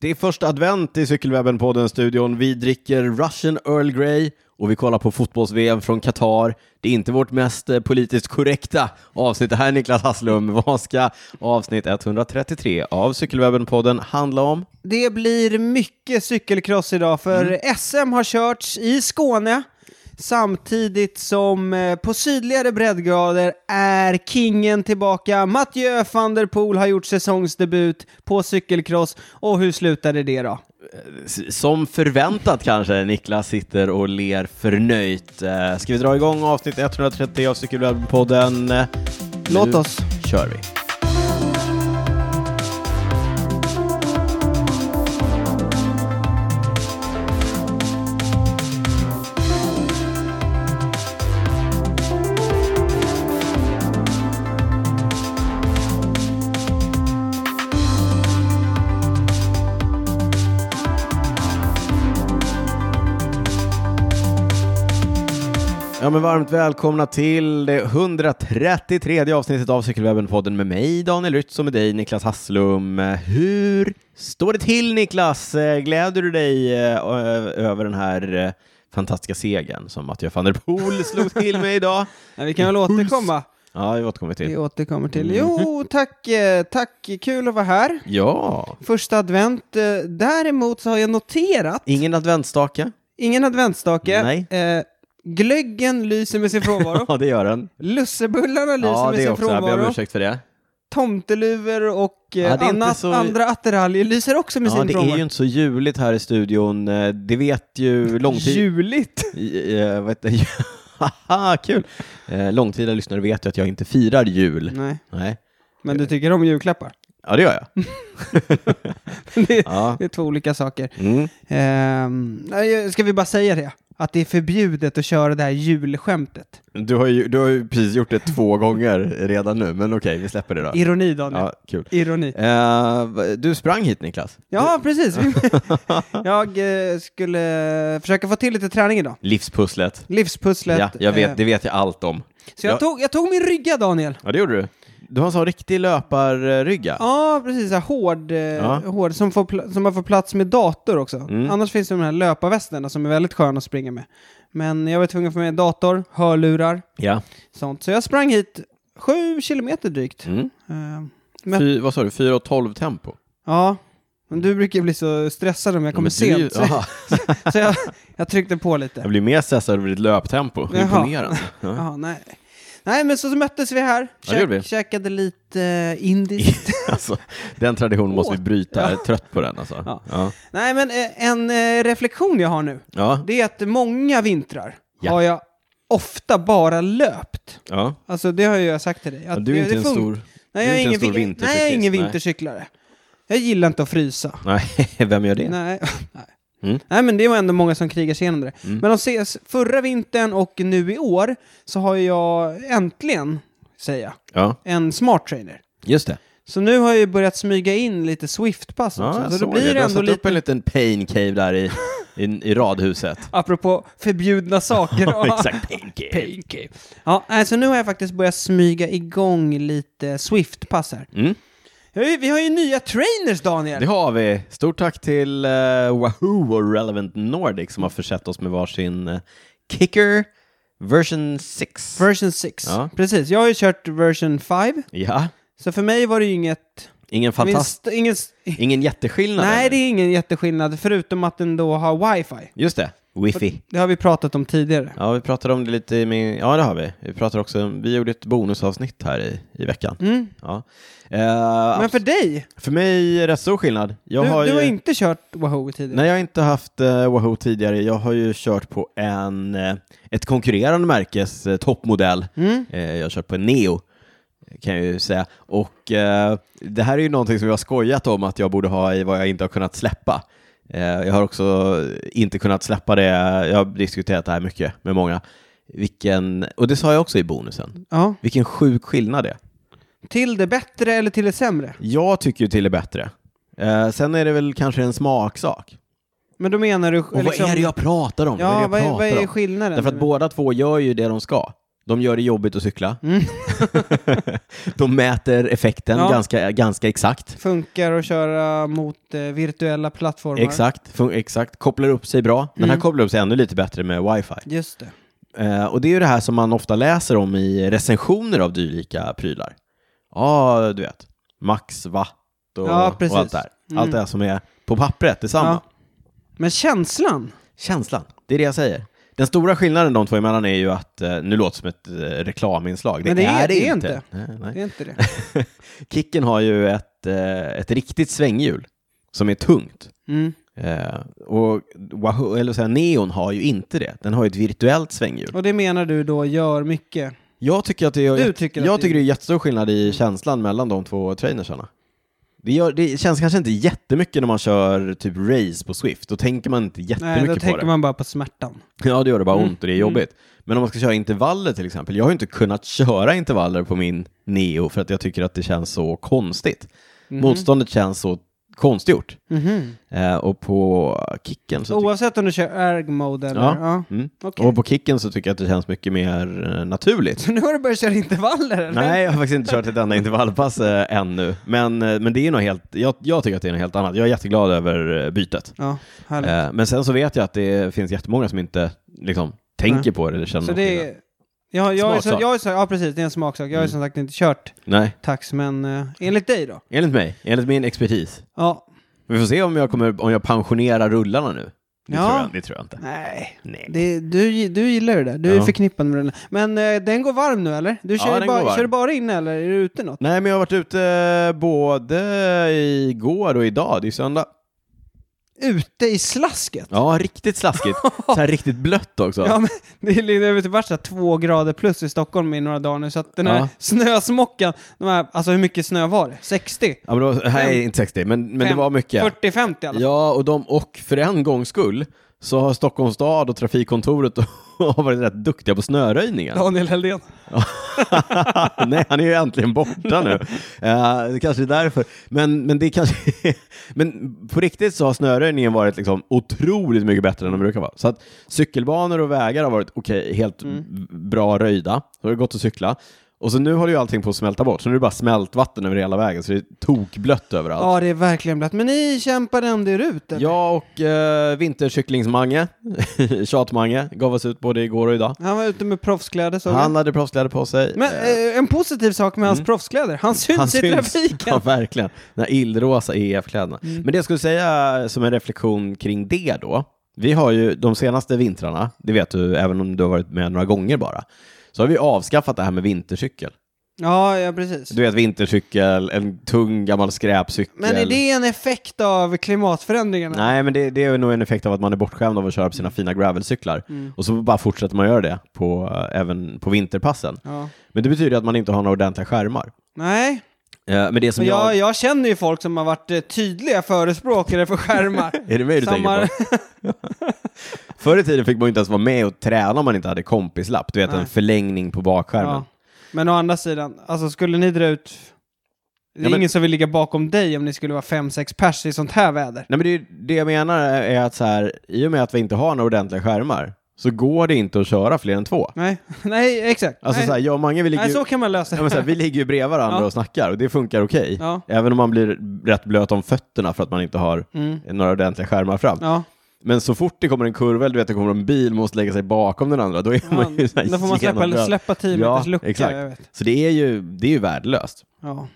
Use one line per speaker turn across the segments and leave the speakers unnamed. Det är första advent i Cykelwebben-podden-studion. Vi dricker Russian Earl Grey och vi kollar på fotbolls-VM från Qatar. Det är inte vårt mest eh, politiskt korrekta avsnitt. Det här är Niklas Hasslum. Vad ska avsnitt 133 av Cykelwebben-podden handla om?
Det blir mycket cykelcross idag för SM har körts i Skåne samtidigt som eh, på sydligare breddgrader är kingen tillbaka. Mathieu van der Poel har gjort säsongsdebut på cykelcross och hur slutade det då?
S- Som förväntat kanske, Niklas sitter och ler förnöjt. Eh, Ska vi dra igång avsnitt 133 av Cykelwebben-podden? Eh,
Låt
nu
oss.
kör vi. Ja, men varmt välkomna till det 133 avsnittet av Cykelwebben-podden med mig, Daniel Rytz, och med dig, Niklas Hasslum. Hur står det till, Niklas? Eh, Gläder du dig eh, ö- över den här eh, fantastiska segern som Mattias van der Poel slog till med idag?
Men vi kan väl återkomma.
Ja, vi återkommer
Vi
till.
återkommer till. Jo, tack, eh, tack. Kul att vara här.
Ja,
Första advent. eh, Däremot så har jag noterat
ingen adventsstake.
Ingen adventsstake.
Nej.
Eh, glöggen lyser med sin frånvaro.
Ja, det gör den.
Lussebullarna lyser
Ja,
med
det
sin
också. Jag ber om
frånvaro.
ursäkt för det.
Tomteluvor och
Ja, det
eh,
är inte
annat,
så-
andra attiraljer lyser också med
Ja,
sin
det
frånvaro.
är ju inte så juligt här i studion. Eh, Det vet ju långtid...
Juligt!
I- eh, vad heter Haha, kul! Eh, långtida lyssnare vet ju att jag inte firar jul.
Nej,
Nej.
men du tycker om julklappar.
Ja, det gör jag.
det, är-
Ja.
det är två olika saker.
Mm.
Ehm, nej, ska vi bara säga det? Att det är förbjudet att köra det här julskämtet.
Du, har ju, du har ju precis gjort det två gånger redan nu, men okej, vi släpper det då.
Ironi, Daniel.
Ja, kul.
Ironi.
Eh, v- du sprang hit, Niklas.
Ja, precis. jag eh, skulle försöka få till lite träning idag.
Livspusslet.
Livspusslet.
Ja, jag
eh,
vet, det vet jag allt om.
Så jag,
Ja.
tog, jag tog min rygga, Daniel.
Ja, det gjorde du. Du har en sån riktig löparrygga.
Ja, precis. Så här, hård, eh, hård som, får pl- som man får plats med dator också.
Mm.
Annars finns det de här löparvästarna som är väldigt sköna att springa med. Men jag var tvungen att få med dator, hörlurar,
Ja.
sånt. Så jag sprang hit sju kilometer drygt.
Mm.
Eh, men,
Fy, vad sa du? 4 och 12 tempo?
ja, men du brukar ju bli så stressad om jag kommer
Men du är ju-
sent. Så,
Aha.
så jag, jag tryckte på
Jag
lite.
blir mer stressad över ditt löptempo.
Jaha.
Imponerande. Ja.
Jaha, nej. Nej, men så, så möttes vi här.
Ja, det gjorde vi.
Käkade lite eh, indiskt.
Alltså, den traditionen måste vi bryta. Jag är trött på den alltså.
Ja.
Ja.
Nej, men eh, en eh, reflektion jag har nu,
Ja.
det är att många vintrar
Ja.
har jag ofta bara löpt.
Ja.
Alltså det har ju jag sagt till dig. Att
Du är
det-
inte
det
en
fun-
stor...
Nej,
du är
jag är
inte en
ingen,
stor
vin-
vintercyklist,
nej, jag är ingen
nej.
vintercyklare. Jag gillar inte att frysa.
Nej, vem gör det?
Nej. nej.
Mm.
Nej, men det var ändå många som krigar sig igenom det. Men de ses förra vintern och nu i år så har jag äntligen, säger jag,
Ja,
en smart trainer.
just det.
Så nu har jag ju börjat smyga in lite Swift-pass också.
Ja, Ah, jag
så
såg
då blir
det.
det
Du har
ändå
satt upp
lite,
en liten pain cave där i, i, i radhuset.
apropå förbjudna saker.
Ja, Exakt, pain cave.
Ja, alltså nu har jag faktiskt börjat smyga igång lite Swift-pass här.
Mm.
Jag har ju- Vi har ju nya trainers, Daniel!
Det har vi. Stort tack till eh, Wahoo och Relevant Nordic som har försett oss med varsin eh, kicker version 6.
Version 6.
Ja.
Precis, jag har ju kört version 5,
Ja,
så för mig var det ju inget...
ingen fantast...
Minst, ingen, s-
Ingen jätteskillnad.
nej,
eller?
det är ingen jätteskillnad, förutom att den då har wifi.
Just det, wifi.
Det har vi pratat om tidigare.
Ja, vi pratade om det lite i min... Ja, det har vi. Vi pratade också... Vi gjorde ett bonusavsnitt här i, i veckan.
Mm.
Ja. Eh,
Men för dig,
För mig är det rätt stor skillnad. Jag
du
har
har, du
ju...
har inte kört Wahoo tidigare.
Nej, jag har inte haft eh, Wahoo tidigare. Jag har ju kört på en, eh, ett konkurrerande märkes eh, toppmodell.
Mm.
Eh, jag har kört på en Neo, kan jag ju säga. Och eh, det här är ju någonting som jag har skojat om att jag borde ha i vad jag inte har kunnat släppa. Eh, jag har också inte kunnat släppa det. Jag har diskuterat det här mycket med många. Vilken, och det sa jag också i bonusen.
Ja.
Vilken sjuk skillnad det är.
Till det bättre eller till det sämre?
Jag tycker ju till är bättre. Eh, sen är det väl kanske en smaksak.
Men då menar du... liksom-
Och vad är det jag pratar om?
Ja,
vad är det jag
vad är,
pratar
vad är
om?
skillnaden?
Därför att båda två gör ju det de ska. De gör det jobbigt att cykla. de mäter effekten
Mm. Ja.
ganska, ganska exakt.
Funkar att köra mot eh, virtuella plattformar.
Exakt, fun- exakt. Kopplar upp sig bra. Den
Mm.
här kopplar upp sig ännu lite bättre med wifi.
Just det.
Eh, och det är ju det här som man ofta läser om i recensioner av dylika prylar. Ja, du vet. Max watt och,
Ja, precis.
och allt det här.
Mm.
Allt det här som är på pappret, detsamma.
Ja. Men känslan?
Känslan, det är det jag säger. Den stora skillnaden de två emellan är ju att, eh, nu låter det som ett eh, reklaminslag, det,
Men
är det inte. Nej, nej.
Det är inte det.
Kicken har ju ett, eh, ett riktigt svänghjul som är tungt.
Mm.
Eh, och Wahoo, eller så här, Neon har ju inte det. Den har ju ett virtuellt svänghjul.
Och det menar du då gör mycket?
Jag tycker att det är,
Du
jag,
tycker att
jag
det-
tycker det är jättestor skillnad i känslan mellan de två trainersarna. Det, gör, det känns kanske inte jättemycket när man kör typ race på Swift. Då tänker man inte
Nej, då
jättemycket på
tänker
det.
man bara på smärtan.
Ja, det gör det bara
Mm.
ont och det är jobbigt. Men om man ska köra intervaller till exempel. Jag har ju inte kunnat köra intervaller på min Neo för att jag tycker att det känns så konstigt. Motståndet känns så konstgjort.
Mm. Mhm.
Eh, och på kicken så
Så oavsett om du kör erg mode eller...
Ja.
Ja.
tycker- mm.
okej.
Och på kicken så tycker jag att det känns mycket mer eh, naturligt.
Så nu har du börjat köra intervaller eller?
Nej, jag har faktiskt inte kört ett enda intervallpass eh, ännu. Men, eh, men det är nog helt, jag, jag tycker att det är något helt annat. Jag är jätteglad över eh, bytet.
Ja, härligt.
Eh, men sen så vet jag att det finns jättemånga som inte liksom, tänker
Nej.
på det eller känner
så
någon
det
skillnad.
är... Ja, jag är så,
Smaksak. Mm.
jag är så, ja, precis. Det är en smaksak. Jag har ju som sagt inte kört
Nej,
tax, men eh, enligt dig då?
enligt mig, enligt min expertis.
Ja.
Vi får se om jag, kommer, om jag pensionerar rullarna nu. Det,
Ja.
tror, jag, det tror jag inte.
Nej.
Nej.
Det, du, du gillar det där. Du
Ja.
är förknippad med den. Men eh, den går varm nu eller? Du
Ja,
kör,
den går varm.
bara, kör du bara inne eller är du ute något?
Nej, men jag har varit ute eh, både igår och idag. Det är söndag.
Ute i slasket?
Ja, riktigt slaskigt. så här riktigt blött också.
Ja, men det ligger över typ vart så här två grader plus i Stockholm i några dagar nu, så att den här
Ja.
snösmockan, de här, alltså hur mycket snö var det? 60?
Ja, men det var, nej, inte 60, men, men det
Fem-
var mycket.
40-50 i alla fall.
Ja, och, de, och för en gångs skull så har Stockholms stad och trafikkontoret har varit rätt duktiga på snöröjningen.
Daniel Helldén.
Nej, han är ju äntligen borta nu. Eh, det kanske är därför. Men, men det kanske Men på riktigt så har snöröjningen varit liksom otroligt mycket bättre än de brukar vara. Så att cykelbanor och vägar har varit okej, helt
Mm.
b- bra röjda. Så det har gått att cykla. Och så nu håller ju allting på att smälta bort. Så nu är det bara smältvatten över hela vägen, så det är tokblött överallt.
Ja, det är verkligen blött. Men ni kämpade ändå er ut eller?
Jag och eh, vintercyklings-Mange, Tjat-Mange, gav oss ut både igår och idag.
Han var ute med proffskläder såg
Han
jag.
hade proffskläder på sig.
Men eh, en positiv sak med hans proffskläder, han syns i
Ja,
trafiken.
verkligen. Den här illrosa EF-kläderna.
Mm.
Men det jag skulle säga som en reflektion kring det då, vi har ju de senaste vintrarna, det vet du även om du har varit med några gånger bara, så har vi avskaffat det här med vintercykel.
Ja, ja precis.
Du vet vintercykel, en tung gammal skräpcykel.
Men är det en effekt av klimatförändringarna?
Nej, men det, det är nog en effekt av att man är bortskämd av att köra på sina fina gravelcyklar.
Mm.
Och så bara fortsätter man göra det på, eh, även på vinterpassen.
Ja.
Men det betyder att man inte har några ordentliga skärmar.
Nej,
Eh, Men det som
men
jag...
jag, jag känner ju folk som har varit eh, tydliga förespråkare för skärmar.
Är det mig du
Samma-
tänker på? Förr i tiden fick man ju inte ens vara med och träna om man inte hade kompislapp. Du vet, en
Nej.
förlängning på bakskärmen.
Ja. Men å andra sidan, alltså skulle ni dra ut... Det är
Ja, men-
ingen som vill ligga bakom dig om ni skulle vara fem sex pers i sånt här väder.
Nej, men det, är- det jag menar är är att så här, i och med att vi inte har några ordentliga skärmar så går det inte att köra fler än två.
Nej, nej exakt.
Alltså
nej.
så här, jag och Mange, vi ligger,
nej,
ju-
så kan man lösa
ja, men
det.
så här, vi ligger ju bredvid varandra
Ja.
och snackar och det funkar okej.
Ja.
Även om man blir rätt blöt om fötterna för att man inte har
Mm.
några ordentliga skärmar fram.
Ja,
Men så fort det kommer en kurva eller du vet, det kommer en bil måste lägga sig bakom den andra, då är man ju så här
då får man släppa,
genomblöt.
släppa 10
Ja,
meters lucka.
exakt.
Jag vet.
Så det är ju, det är ju värdelöst.
Ja.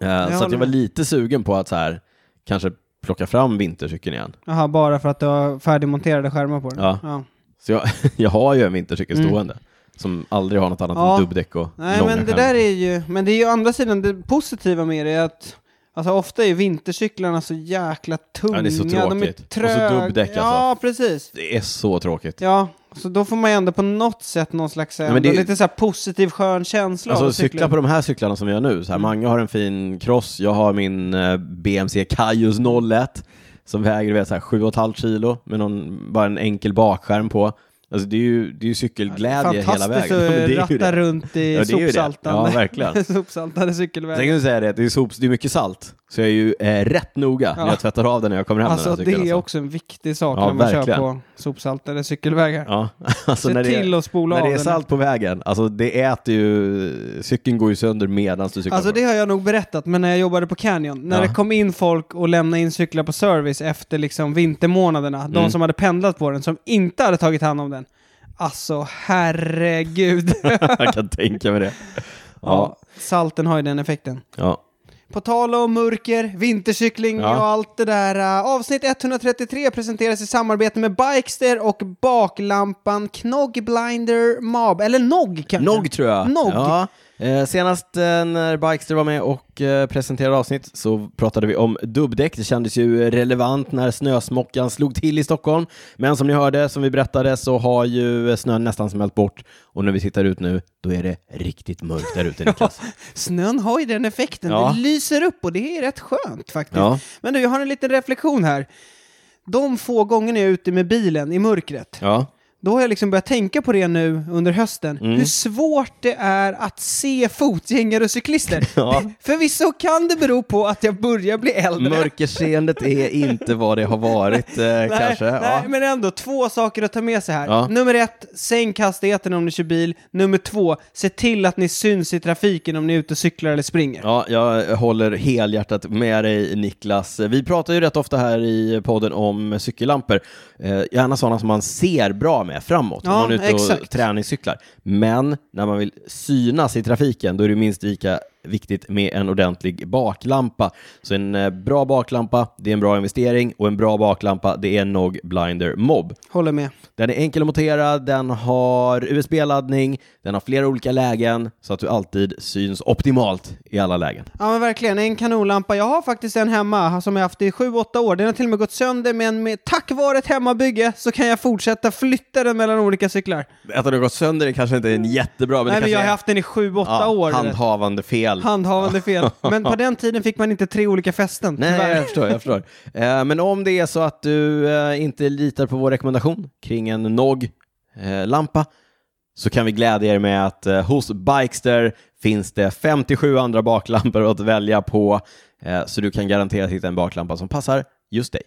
Eh, så
håller
att jag var
med.
lite sugen på att så här, kanske plocka fram vintercykeln igen.
Jaha, bara för att du har färdigmonterade skärmar på den?
Ja. Så jag, jag har ju en vintercykel
Mm.
stående som aldrig har något annat
Ja.
än dubbdäck och
Nej,
långa
men det
skärmar.
där är ju... Men det är ju å andra sidan, det positiva med det är att Alltså ofta är vintercyklarna så jäkla tunga.
Ja, det är så
De är
tråkigt. Och så
tröga.
dubbdäck, alltså.
Ja, precis.
Det är så tråkigt.
Ja, så då får man ju ändå på något sätt någon slags
men
ändå,
det är-
lite så här positiv skön känsla av
Alltså
att
cykla på de här cyklarna som jag gör nu, så här,
Mm.
Mange har en fin cross, jag har min eh, BMC Kaius 01 som väger du vet, så här, 7,5 kilo med någon, bara en enkel bakskärm på. Alltså det är ju, det är ju cykelglädje hela vägen.
Fantastiskt
Ja, men det är
att
ju
ratta
det.
runt i
Ja, det är ju det.
sopsaltande,
Ja, verkligen.
sopsaltande cykelvägar.
Sen kan du säga det, det är, sops, det är mycket salt. Så jag är ju eh, rätt noga när
Ja.
jag tvättar av den när jag kommer hem med den
Alltså
här
det
cykeln,
är också en viktig sak
Ja,
när man kör
verkligen.
på sopsaltade cykelvägar.
Ja, alltså
Se
när det är,
till att spola
när
av
det är
den.
salt på vägen, alltså det äter ju, cykeln går ju sönder medan du cyklar.
Alltså
på den.
det har jag nog berättat, men när jag jobbade på Canyon, när
Ja.
det kom in folk och lämnade in cyklar på service efter liksom vintermånaderna, de
Mm.
som hade pendlat på den, som inte hade tagit hand om den. Alltså herregud.
jag kan tänka mig det. Ja,
ja. Salten har ju den effekten.
ja.
På tal om mörker, vintercykling
Ja.
och allt det där. eh, Avsnitt 133 presenteras i samarbete med Bikester och baklampan Knoggblinder Mab. Eller Nog kanske?
Nog tror jag.
Nog.
Ja. Eh, senast eh, när Bikester var med och eh, presenterade avsnitt så pratade vi om dubbdäck. Det kändes ju relevant när snösmockan slog till i Stockholm. Men som ni hörde, som vi berättade, så har ju snön nästan smält bort. Och när vi tittar ut nu, då är det riktigt mörkt där ute, Niklas.
Snön har ju den effekten.
Ja.
Det lyser upp och det är rätt skönt faktiskt.
Ja.
Men du, jag har en liten reflektion här. De få gångerna jag är ute med bilen i mörkret,
Ja.
då har jag liksom börjat tänka på det nu under hösten.
Mm.
Hur svårt det är att se fotgängare och cyklister.
Ja.
Förvisso kan det bero på att jag börjar bli äldre.
Mörkerseendet är inte vad det har varit eh, kanske.
nej,
ja.
men ändå, två saker att ta med sig här.
Ja.
Nummer ett, sänk hastigheten om ni kör bil. Nummer två, se till att ni syns i trafiken om ni är ute och cyklar eller springer.
Ja, jag håller helhjärtat med dig Niklas. Vi pratar ju rätt ofta här i podden om cykellampor. Eh, gärna sådana som man ser bra med framåt
Ja,
om man är ute
exakt.
och träningscyklar. Men när man vill synas i trafiken då är det minst lika viktigt med en ordentlig baklampa. Så en eh, bra baklampa, det är en bra investering och en bra baklampa, det är en Nog Blinder Mob.
Håller med.
Den är enkel att montera, den har USB-laddning, den har flera olika lägen så att du alltid syns optimalt i alla lägen.
Ja men verkligen, en kanonlampa. Jag har faktiskt en hemma som jag haft i 7-8 år. Den har till och med gått sönder, men med, tack vare ett hemmabygge så kan jag fortsätta flytta den mellan olika cyklar.
Att den har gått sönder är kanske inte en jättebra, men
Nej
det
men jag har
kanske
haft den i 7-8
är
år.
handhavande fel.
Handhavande fel. Men på den tiden fick man inte tre olika fästen.
Nej,
tyvärr.
jag förstår. Jag förstår. Eh, men om det är så att du eh, inte litar på vår rekommendation kring en NOG-lampa så kan vi glädja er med att eh, hos Bikester finns det 57 andra baklampor att välja på eh, så du kan garanterat hitta en baklampa som passar just dig.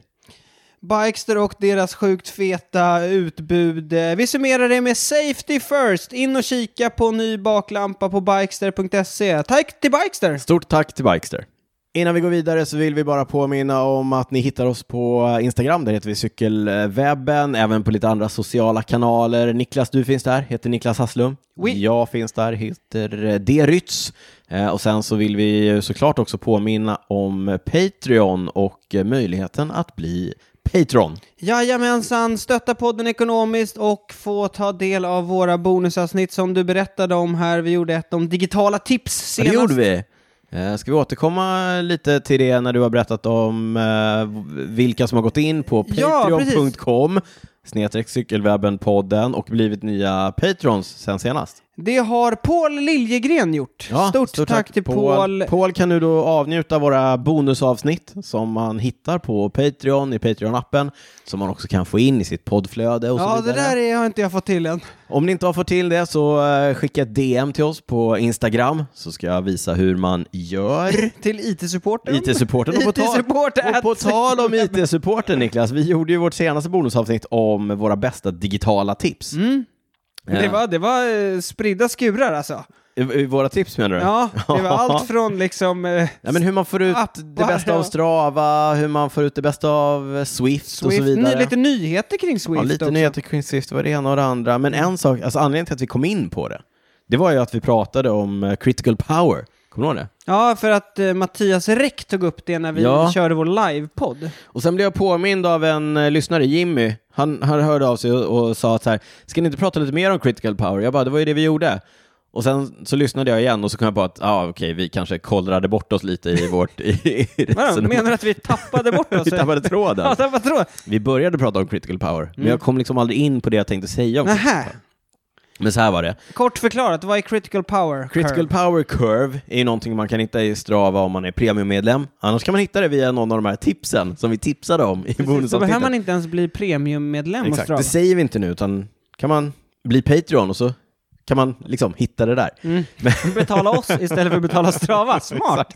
Bikester och deras sjukt feta utbud. Eh, Vi summerar det med Safety First. In och kika på ny baklampa på bikester.se. Tack till Bikester!
Stort tack till Bikester. Innan vi går vidare så vill vi bara påminna om att ni hittar oss på Instagram, där heter vi Cykelwebben, även på lite andra sociala kanaler. Niklas, du finns där, heter Niklas Hasslum.
Oui.
Jag finns där, heter eh, D. Rytz. Eh, Och sen så vill vi ju såklart också påminna om Patreon och eh, möjligheten att bli Patreon.
Jajamensan, stötta podden ekonomiskt och få ta del av våra bonusavsnitt som du berättade om här. Vi gjorde ett om digitala tips
Ja,
senast.
Det gjorde vi. Eh, Ska vi återkomma lite till det när du har berättat om eh, vilka som har gått in på
Ja, precis.
patreon.com snedstreck cykelwebben-podden och blivit nya patrons sen senast.
Det har Paul Liljegren gjort. stort, tack, till Paul.
Paul kan nu då avnjuta våra bonusavsnitt som man hittar på Patreon i Patreon-appen som man också kan få in i sitt poddflöde och
Ja,
så
det
vidare.
där är, har inte jag fått till än.
Om ni inte har fått till det så eh, skicka ett DM till oss på Instagram så ska jag visa hur man gör.
Till IT-supporten.
IT-supporten. Och på
IT-supporten.
tal, och på tal om IT-supporten Niklas, vi gjorde ju vårt senaste bonusavsnitt om våra bästa digitala tips.
Mm. Det var, det var eh, spridda skurar alltså.
Eh, Våra tips menar du?
Ja, det var allt från liksom... eh,
Ja, men hur man får ut
Appar,
det bästa av
ja.
Strava, hur man får ut det bästa av eh, Swift, och så
Swift,
vidare.
ny, lite nyheter kring Swift
ja, lite
också.
nyheter kring Swift, vad det ena och det andra. Men en sak, alltså anledningen till att vi kom in på det, det var ju att vi pratade om eh, critical power. Kommer du ihåg det?
Ja, för att eh, Mattias Räck tog upp det när vi
Ja.
körde vår livepodd.
Och sen blev jag påmind av en eh, lyssnare, Jimmy. Han, han hörde av sig och, och sa att så här, ska ni inte prata lite mer om critical power? Jag bara, det var ju det vi gjorde. Och sen så lyssnade jag igen och så kom jag på att, ja ah, okej, vi kanske kollrade bort oss lite i vårt... I, i
Vadå,
resonemang.
menar du att vi tappade bort oss?
Alltså, vi tappade
Ja,
tråden.
tappade tråden.
Vi började prata om critical power, men jag kom liksom aldrig in på det jag tänkte säga om
Nähä.
Men så här var det.
Kort förklarat, vad är critical power?
Critical
curve?
power curve är ju någonting man kan hitta i Strava om man är premiummedlem. Annars kan man hitta det via någon av de här tipsen som vi tipsade om i
Precis, Då behöver
bonusavsnittet.
man inte ens bli premiummedlem hos
Exakt,
Strava.
det säger vi inte nu, utan kan man bli Patreon och så kan man liksom hitta det där.
Betala oss istället för att betala Strava. Smart!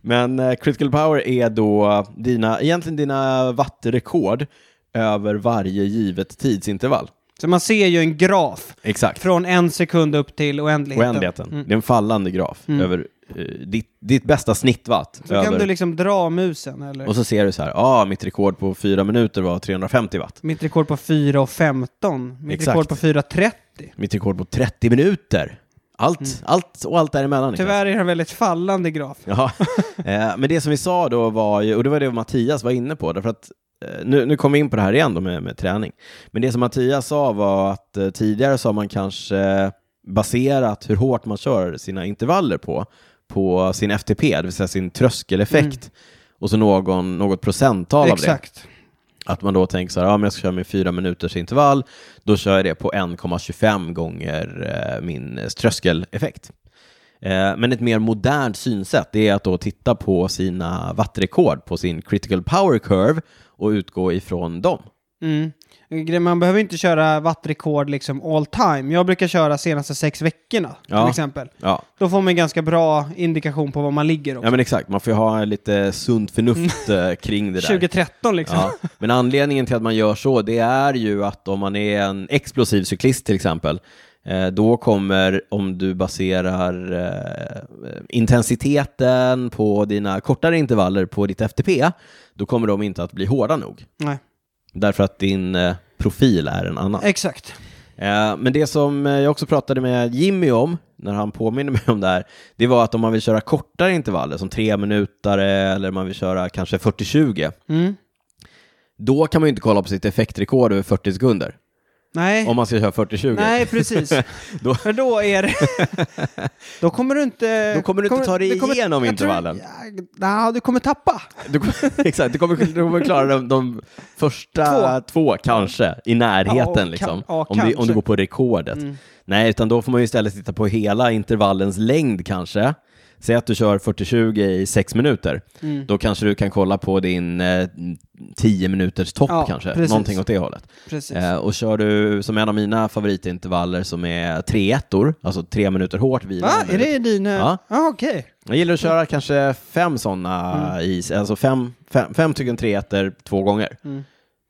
Men eh, critical power är då dina, egentligen dina wattrekord över varje givet tidsintervall.
Så man ser ju en graf
Exakt.
från en sekund upp till oändligheten. Mm.
Oändligheten. Mm. Det är en fallande graf över eh, ditt, ditt bästa snittvatt.
Så kan
över,
du liksom dra musen eller?
Och så ser du så här, ah, mitt rekord på fyra minuter var 350 watt.
Mitt rekord på 4.15. Mitt
Exakt.
rekord på 4.30.
Mitt rekord på 30 minuter. Allt, allt och allt däremellan. Niklas.
Mm. Tyvärr är det en väldigt fallande graf.
Ja, eh, men det som vi sa då var ju, och det var det Mattias var inne på, därför att eh, nu, nu kommer vi in på det här igen då med, med träning. Men det som Mattias sa var att eh, tidigare sa man kanske eh, baserat hur hårt man kör sina intervaller på, på sin FTP, det vill säga sin tröskeleffekt, och så någon, något procenttal av det.
Exakt.
Att man då tänker så här, ja men jag ska köra min fyra minuters intervall, då kör jag det på 1,25 gånger eh, min eh, tröskeleffekt. Eh, men ett mer modernt synsätt det är att då titta på sina wattrekord på sin critical power curve och utgå ifrån dem.
Mm. Grejen, Man behöver inte köra wattrekord liksom all time. Jag brukar köra senaste sex veckorna
Ja.
till exempel.
Ja,
Då får man en ganska bra indikation på var man ligger också.
ja men exakt, man får ju ha lite sunt förnuft eh, kring det där.
2013 liksom.
Ja. Men anledningen till att man gör så, det är ju att om man är en explosiv cyklist till exempel, eh, då kommer, om du baserar eh, intensiteten på dina kortare intervaller på ditt FTP, då kommer de inte att bli hårda nog.
Nej.
Därför att din eh, profil är en annan.
Exakt.
Eh, Men det som eh, jag också pratade med Jimmy om, när han påminner mig om det här, det var att om man vill köra kortare intervaller, som tre minuter eller man vill köra kanske 40-20,
Mm.
då kan man ju inte kolla på sitt effektrekord över 40 sekunder.
Nej.
Om man ska köra 40-20.
Eh. Nej, precis.
Då-
För då är det... då kommer du inte...
Då kommer du inte ta dig
du kommer-
igenom
jag tror-
intervallen.
Ja, nej, du kommer tappa.
Du, kommer- exakt, du kommer, du kommer klara de, de första två. kanske, i
Ja, och
närheten
kan-
liksom.
ja,
om, du, om
kanske. Mm.
du går på rekordet. Nej, utan då får man ju istället titta på hela intervallens längd kanske. Säg att du kör 40-20 i sex minuter.
Mm,
Då kanske du kan kolla på din eh, 10 minuters topp
Ja,
kanske.
precis.
Någonting åt det hållet.
Precis.
Eh, och kör du, som en av mina favoritintervaller, som är 3-1, alltså tre minuter hårt vila.
Va?
en
Är
minut.
det din... eh,
Ja.
ah, okej.
Jag gillar att
Mm.
köra kanske fem sådana i, alltså fem, fem, fem stycken treetter två gånger.
Mm.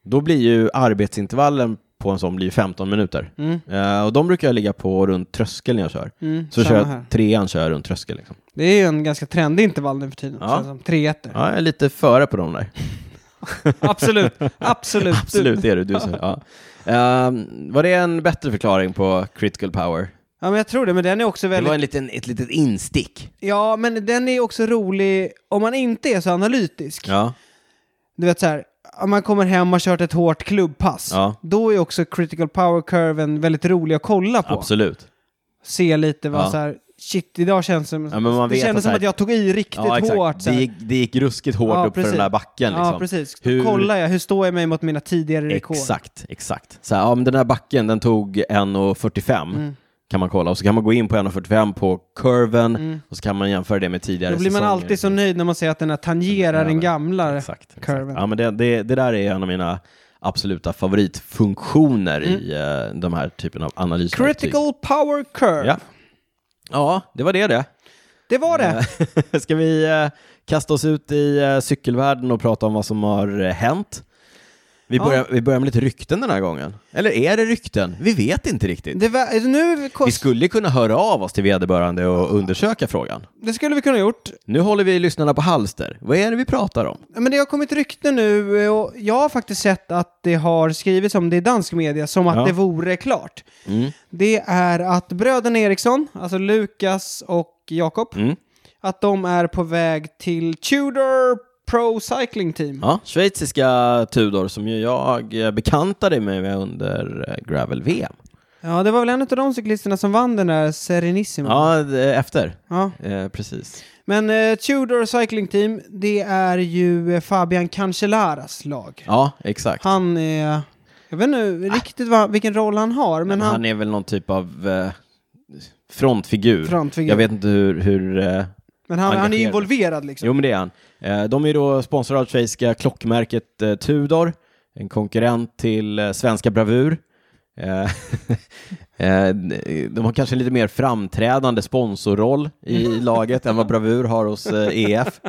Då blir ju arbetsintervallen på en sån blir ju 15 minuter.
Mm.
Eh, och de brukar jag ligga på runt tröskeln när jag kör.
Mm,
Så
samma
kör
här.
jag, trean kör jag runt tröskeln. Liksom.
Det är ju en ganska trendig intervall nu för tiden.
Ja.
känns Som tre ettor.
Ja, jag är lite före på de där.
Absolut. Absolut.
Absolut är du. du så, ja. Eh, var det en bättre förklaring på critical power?
Ja, men jag tror det. Men den är också
Det
väldigt...
var en liten, ett litet instick.
Ja, men den är också rolig om man inte är så analytisk.
Ja.
Du vet så här, om man kommer hem och har kört ett hårt klubbpass.
Ja.
Då är också critical power curven väldigt rolig att kolla på.
Absolut.
Se lite vad
Ja.
så här, shit, idag känns det som,
Ja, men man
det
vet
kändes
att så
som
här-
att jag tog i riktigt hårt. Så
det,
här.
gick, det gick ruskigt hårt
Ja,
upp för
precis.
den där backen. Liksom.
Ja, precis.
Hur-
Hur... Kollar jag, hur står jag mig mot mina tidigare rekord?
Exakt, exakt. Så här, ja, men den här backen den tog 1,45
Mm.
kan man kolla och så kan man gå in på 1,45 på kurven och så kan man jämföra det med tidigare
Mm. Då blir man
säsonger.
alltid så nöjd när man ser att den här tangerar den gamla.
exakt, exakt.
kurven.
Ja, men det, det, det där är en av mina absoluta favoritfunktioner i eh, de här typen av analyser.
Mm.
Typ.
Critical power curve.
Ja. ja, det var det det.
Det var det.
Ska vi eh, kasta oss ut i eh, cykelvärlden och prata om vad som har eh, hänt? Vi
Ja.
börjar, vi börjar med lite rykten den här gången. Eller är det rykten? Vi vet inte riktigt.
det var, nu,
Vi skulle kunna höra av oss till vederbörande och undersöka frågan.
det skulle vi kunna ha gjort.
Nu håller vi lyssnarna på halster. Vad är det vi pratar om?
Ja, Men det har kommit rykten nu eh, och jag har faktiskt sett att det har skrivits om det i dansk media som att
Ja.
det vore klart.
Mm.
Det är att bröderna Eriksson, alltså Lukas och Jakob,
Mm.
att de är på väg till Tudor Pro Cycling Team.
Ja, schweiziska Tudor som ju jag eh, bekantade mig med under eh, Gravel-VM.
Ja, det var väl en av de cyklisterna som vann den där Serenissima.
Ja, d- efter.
Ja.
Eh, precis.
Men eh, Tudor Cycling Team, det är ju eh, Fabian Cancellaras lag.
Ja, exakt.
Han är... Jag vet inte riktigt vad, vilken roll han har, men,
Men han,
han...
är väl någon typ av eh, frontfigur.
Frontfigur.
Jag vet inte hur... hur eh,
Men han, han är
engagerad.
involverad liksom.
jo, men det är han. Eh, de är ju då sponsrade av schweiziska klockmärket eh, Tudor, en konkurrent till eh, svenska Bravur. Eh, eh, De har kanske en lite mer framträdande sponsorroll i laget än vad Bravur har hos eh, EF.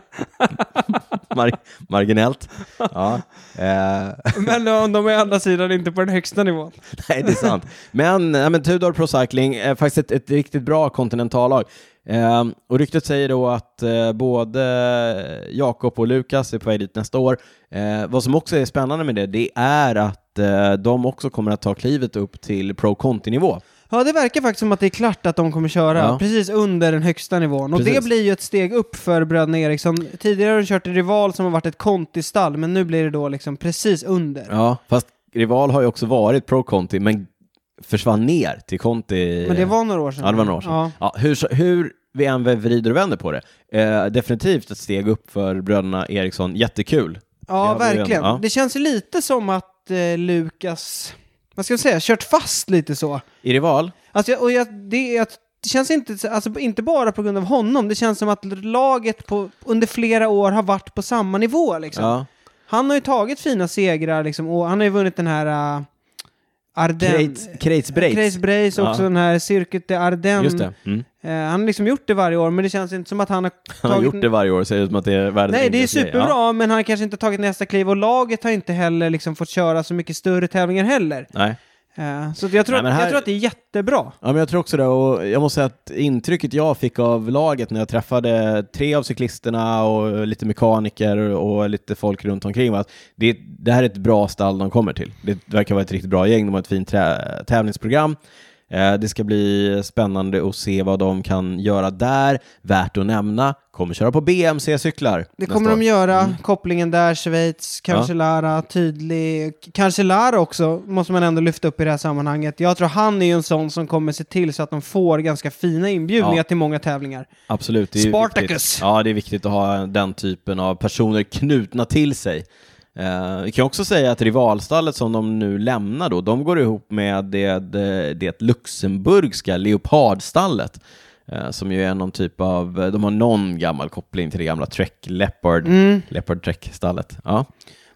Mar- marginellt. Ja. Eh,
Men om de är å andra sidan inte på den högsta nivån.
Nej, det är sant. Men, ja, men Tudor Pro Cycling är faktiskt ett, ett riktigt bra kontinentallag. Ehm, och ryktet säger då att eh, både Jakob och Lukas är på väg dit nästa år. Eh, vad som också är spännande med det, det är att eh, de också kommer att ta klivet upp till Pro Conti-nivå.
Ja, det verkar faktiskt som att det är klart att de kommer köra
Ja.
precis under den högsta nivån. Och det
Precis.
blir ju ett steg upp för bröderna Eriksson. Tidigare har de kört en rival som har varit ett kontistall, men nu blir det då liksom precis under.
Ja, fast Rival har ju också varit Pro Conti, men försvann ner till Conti.
Men det var några år sedan.
Ja, det var några år sedan.
Ja.
Ja. hur, så- hur vi än vrider och vänder på det, eh, definitivt ett steg upp för bröderna Eriksson. Jättekul.
Ja,
Det hade vi
verkligen.
redan, ja.
Det känns ju lite som att eh, Lukas, vad ska jag säga, kört fast lite så.
I Rival?
Alltså, jag- och jag, det, jag, det känns inte, så- alltså, inte bara på grund av honom, det känns som att laget på, under flera år har varit på samma nivå. Liksom.
Ja.
Han har ju tagit fina segrar liksom, och han har ju vunnit den här uh, Ardennes...
Kreitz
Crace Brace och
Ja.
också den här Circuit de Ardennes.
Just det. Mm.
Eh, han har liksom gjort det varje år, men det känns inte som att han har tagit...
Han har gjort det varje år, ser det ut som att det är världens
Nej, det är
enklaste grej.
superbra,
Ja.
men han har kanske inte tagit nästa kliv och laget har inte heller liksom fått köra så mycket större tävlingar heller.
Nej.
Eh, så att jag, tror,
Nej, men här-
jag tror att det är jättebra.
Ja, men jag tror också det, och jag måste säga att intrycket jag fick av laget när jag träffade tre av cyklisterna och lite mekaniker och lite folk runt omkring var att det, det här är ett bra stall de kommer till. Det verkar vara ett riktigt bra gäng, de har ett fint trä- tävlingsprogram. Eh, Det ska bli spännande att se vad de kan göra där. Värt att nämna, kommer köra på BMC-cyklar.
Det kommer de göra,
Mm.
kopplingen där, Schweiz, kanske Lara, tydlig. Kanske Lara också, måste man ändå lyfta upp i det här sammanhanget. Jag tror han är ju en sån som kommer se till så att de får ganska fina inbjudningar
Ja.
till många tävlingar.
Absolut. Det är ju
Spartacus.
Viktigt. Ja, det är viktigt att ha den typen av personer knutna till sig. Eh, vi kan också säga att rivalstallet som de nu lämnar då, de går ihop med det, det, det luxemburgska leopardstallet. eh, som ju är någon typ av, de har någon gammal koppling till det gamla Trek Leopard,
Mm.
Leopard Trek-stallet. Ja.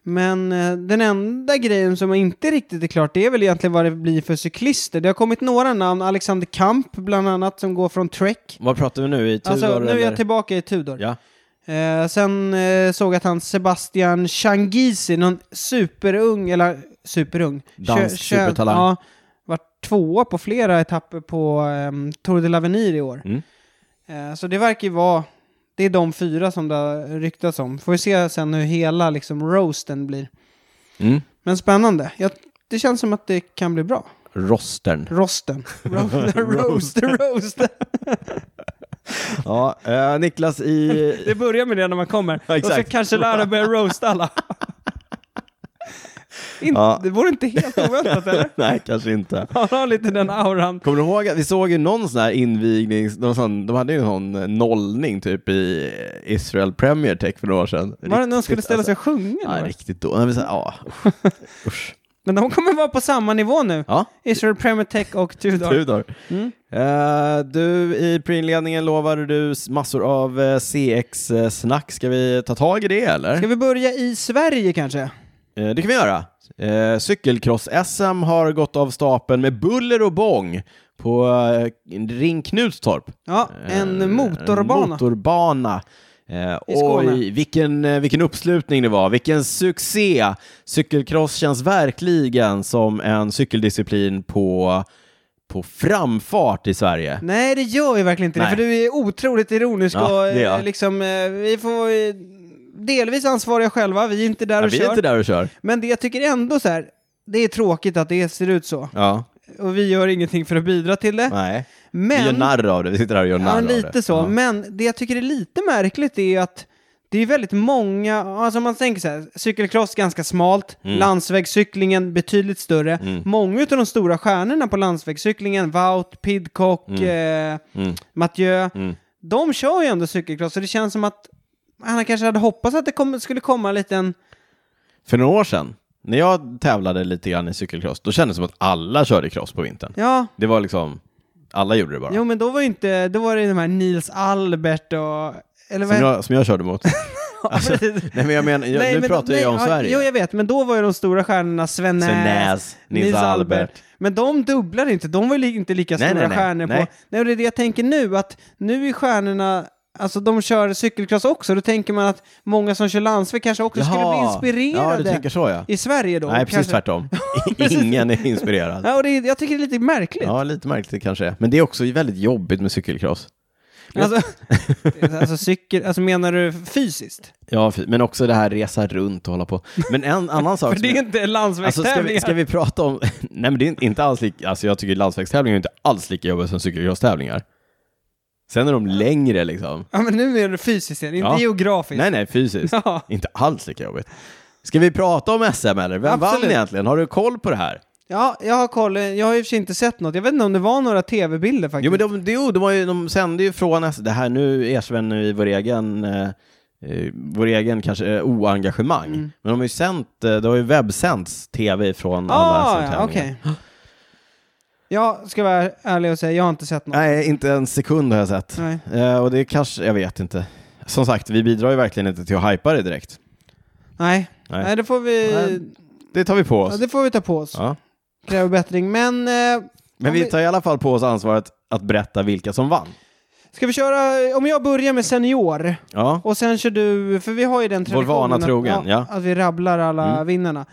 Men eh, den enda grejen som inte riktigt är klart, det är väl egentligen vad det blir för cyklister. Det har kommit några namn, Alexander Kamp bland annat, som går från Trek.
Vad pratar vi nu i Tudor?
Alltså, nu är jag
eller?
tillbaka i Tudor.
Ja.
Eh, sen eh, såg jag att han Sebastian Changizi, någon superung, eller superung.
Dansk supertalang.
Ja, vart tvåa på flera etapper på ehm, Tour de l'Avenir i år.
Mm.
Eh, så det verkar ju vara, det är de fyra som det har ryktats om. Får vi se sen hur hela liksom roasten blir.
Mm.
Men spännande. Jag, det känns som att det kan bli bra.
Rostern.
Rosten. Roast, roast, roast.
Ja, eh, Niklas i...
Det börjar med det när man kommer.
Ja,
och så
exakt.
kanske läraren börjar roasta alla. In,
Ja.
Det vore inte helt oväntat eller?
Nej, kanske inte.
Han har lite den auran.
Kommer du ihåg att vi såg ju någon sån här invignings... någon sån, de hade ju någon eh, nollning typ i Israel Premier Tech för några år sedan.
Var det någon skulle
Riktigt,
ställa sig och
alltså,
sjunga?
Ja,
då?
riktigt då. Nej, men så här, ja, usch.
Men de kommer vara på samma nivå nu.
Ja,
Israel Premier Tech och Tudor.
Tudor.
Mm.
Eh, du, i preinledningen lovade du s- massor av CX-snack. Ska vi ta tag i det eller?
Ska vi börja i Sverige kanske?
Eh, Det kan vi göra. Eh, Cykelcross-SM har gått av stapeln med buller och bång på eh, Ring Knutstorp.
Ja,
Eh,
en motorbana.
En motorbana. Eh,
I Skåne.
oj, vilken, eh, vilken uppslutning det var, vilken succé! Cykelcross känns verkligen som en cykeldisciplin på, på framfart i Sverige.
Nej, det gör ju verkligen inte det,
Nej.
för du är otroligt ironisk
Ja,
och
det är
eh,
jag.
liksom, eh, vi får eh, delvis ansvariga själva, vi är inte där
Ja,
och
vi
kör.
är inte där och kör.
Men det jag tycker ändå så här, det är tråkigt att det ser ut så.
Ja,
Och vi gör ingenting för att bidra till det.
nej. Vi gör
Men,
narr av det, vi sitter här och gör narr
ja,
av det.
lite så.
Ja.
Men det jag tycker är lite märkligt är att det är väldigt många, alltså om man tänker så här, cykelcross ganska smalt,
Mm.
landsvägscyklingen betydligt större. Många av de stora stjärnorna på landsvägscyklingen, Wout, Pidcock, eh,
Mm.
Mathieu,
Mm.
de kör ju ändå cykelcross så det känns som att han kanske hade hoppats att det kom, skulle komma en liten
För några år sedan, när jag tävlade lite grann i cykelcross, då kändes det som att alla körde cross på vintern.
Ja,
Det var liksom, alla gjorde det bara.
jo men då var ju inte, då var det de här Nils Albert och... Eller vad
som, jag, som jag körde mot. Alltså,
precis.
nej, men jag menar, jag, nu
men-
pratar jag om
ja,
Sverige.
Jo, jag vet, men då var ju de stora stjärnorna Sven
Sven
Nääs,
Nääs, Nils Albert.
Men de dubblar inte, de var ju li- inte lika
Nej,
stora
nej, nej.
stjärnor på...
Nej.
Nej, och det är det jag tänker nu, att nu är stjärnorna... Alltså de kör cykelcross också, då tänker man att många som kör landsväg kanske också
Jaha.
skulle bli
Ja, du
inspirerade
tänker så ja.
i Sverige då.
Nej, precis
kanske.
tvärtom. Ingen är inspirerad.
Ja, och det är, jag tycker det är lite märkligt.
Ja, lite märkligt det kanske är. Men det är också väldigt jobbigt med cykelcross.
Alltså, alltså, cykel, alltså menar du fysiskt?
Ja, fy- men också det här resa runt och hålla på. Men en annan sak
För
som
det
jag-
är inte
Alltså ska
landsvägstävlingar.
vi, ska vi prata om, nej men det är inte alls lika, alltså jag tycker landsvägstävlingar är inte alls lika jobbiga som cykelcrosstävlingar. Sen är de längre liksom.
Ja, men nu menar du fysiskt, igen, inte
Ja.
geografiskt.
Nej nej, fysiskt.
Ja.
Inte alls lika jobbigt. Ska vi prata om SM eller? Vem vann
Absolut.
egentligen? Har du koll på det här?
Ja, jag har koll. Jag har i och för sig inte sett något. Jag vet inte om det var några tv-bilder faktiskt.
Jo men de, jo, de, har ju, de sände ju från SM, det här nu erkänner vi vår egen, eh, eh, vår egen kanske eh, oengagemang.
Mm.
Men de har ju sänt, eh, det har ju webbsänts tv från alla
ah,
SM-tävlingar.
ja, okej. Jag ska vara ärlig och säga, jag har inte sett något.
Nej, inte en sekund har jag sett.
Nej.
Eh, och det kanske, jag vet inte. Som sagt, vi bidrar ju verkligen inte till att hypa det direkt.
Nej,
Nej.
Nej. det, får vi,
Nej. Det tar vi på
ja,
oss.
det får vi ta på oss.
Ja.
Kräver bättring. Men eh,
Men
om
vi
vi-
tar i alla fall på oss ansvaret att berätta vilka som vann.
ska vi köra, om jag börjar med senior
Ja,
och sen kör du, för vi har ju den traditionen.
vana
att-
trogen, ja. Mm.
Att vi rabblar alla vinnarna.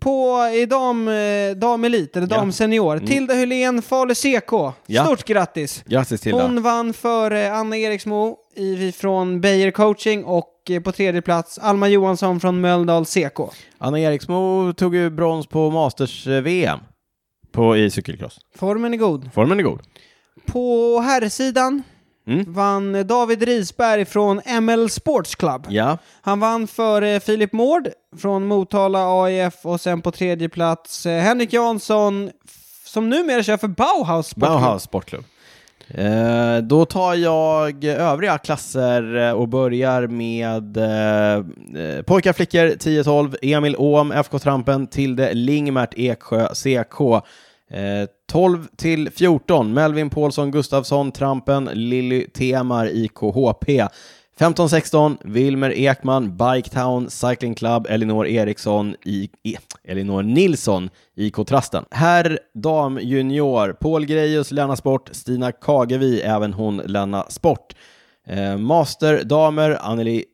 På i dam, eh, damelit, eller
Ja. Mm.
damsenior, Tilda Hylén, Falu CK.
Ja.
Stort grattis!
grattis Tilda.
Hon vann före Anna Eriksmo i, från Beijer coaching och eh, på tredje plats Alma Johansson från Mölndal CK.
Anna Eriksmo tog ju brons på Masters-VM på, i cykelcross.
Formen är god.
Formen är god.
På herrsidan
Mm.
vann David Risberg från ML Sports Club.
Ja,
Han vann före Filip Mård från Motala AIF och sen på tredje plats eh, Henrik Jansson f- som numera kör för Bauhaus Sport Club.
Bauhaus Sportklubb. Eh, då tar jag övriga klasser eh, och börjar med eh, eh, pojkar, flickor 10-12, Emil Åhm, FK Trampen, Tilde Lingmert, Eksjö, CK. Eh, 12 till 14, Melvin Paulsson, Gustafsson, Trampen, Lilly Temar, IKHP. 15-16, Wilmer Ekman, Biketown, Cycling Club, Elinor Eriksson, I, e, Elinor Nilsson, IK Trasten. Herr, dam, junior, Paul Grejus, Lena Sport, Stina Kagevi, även hon Lena Sport. Eh, master, damer, Anneli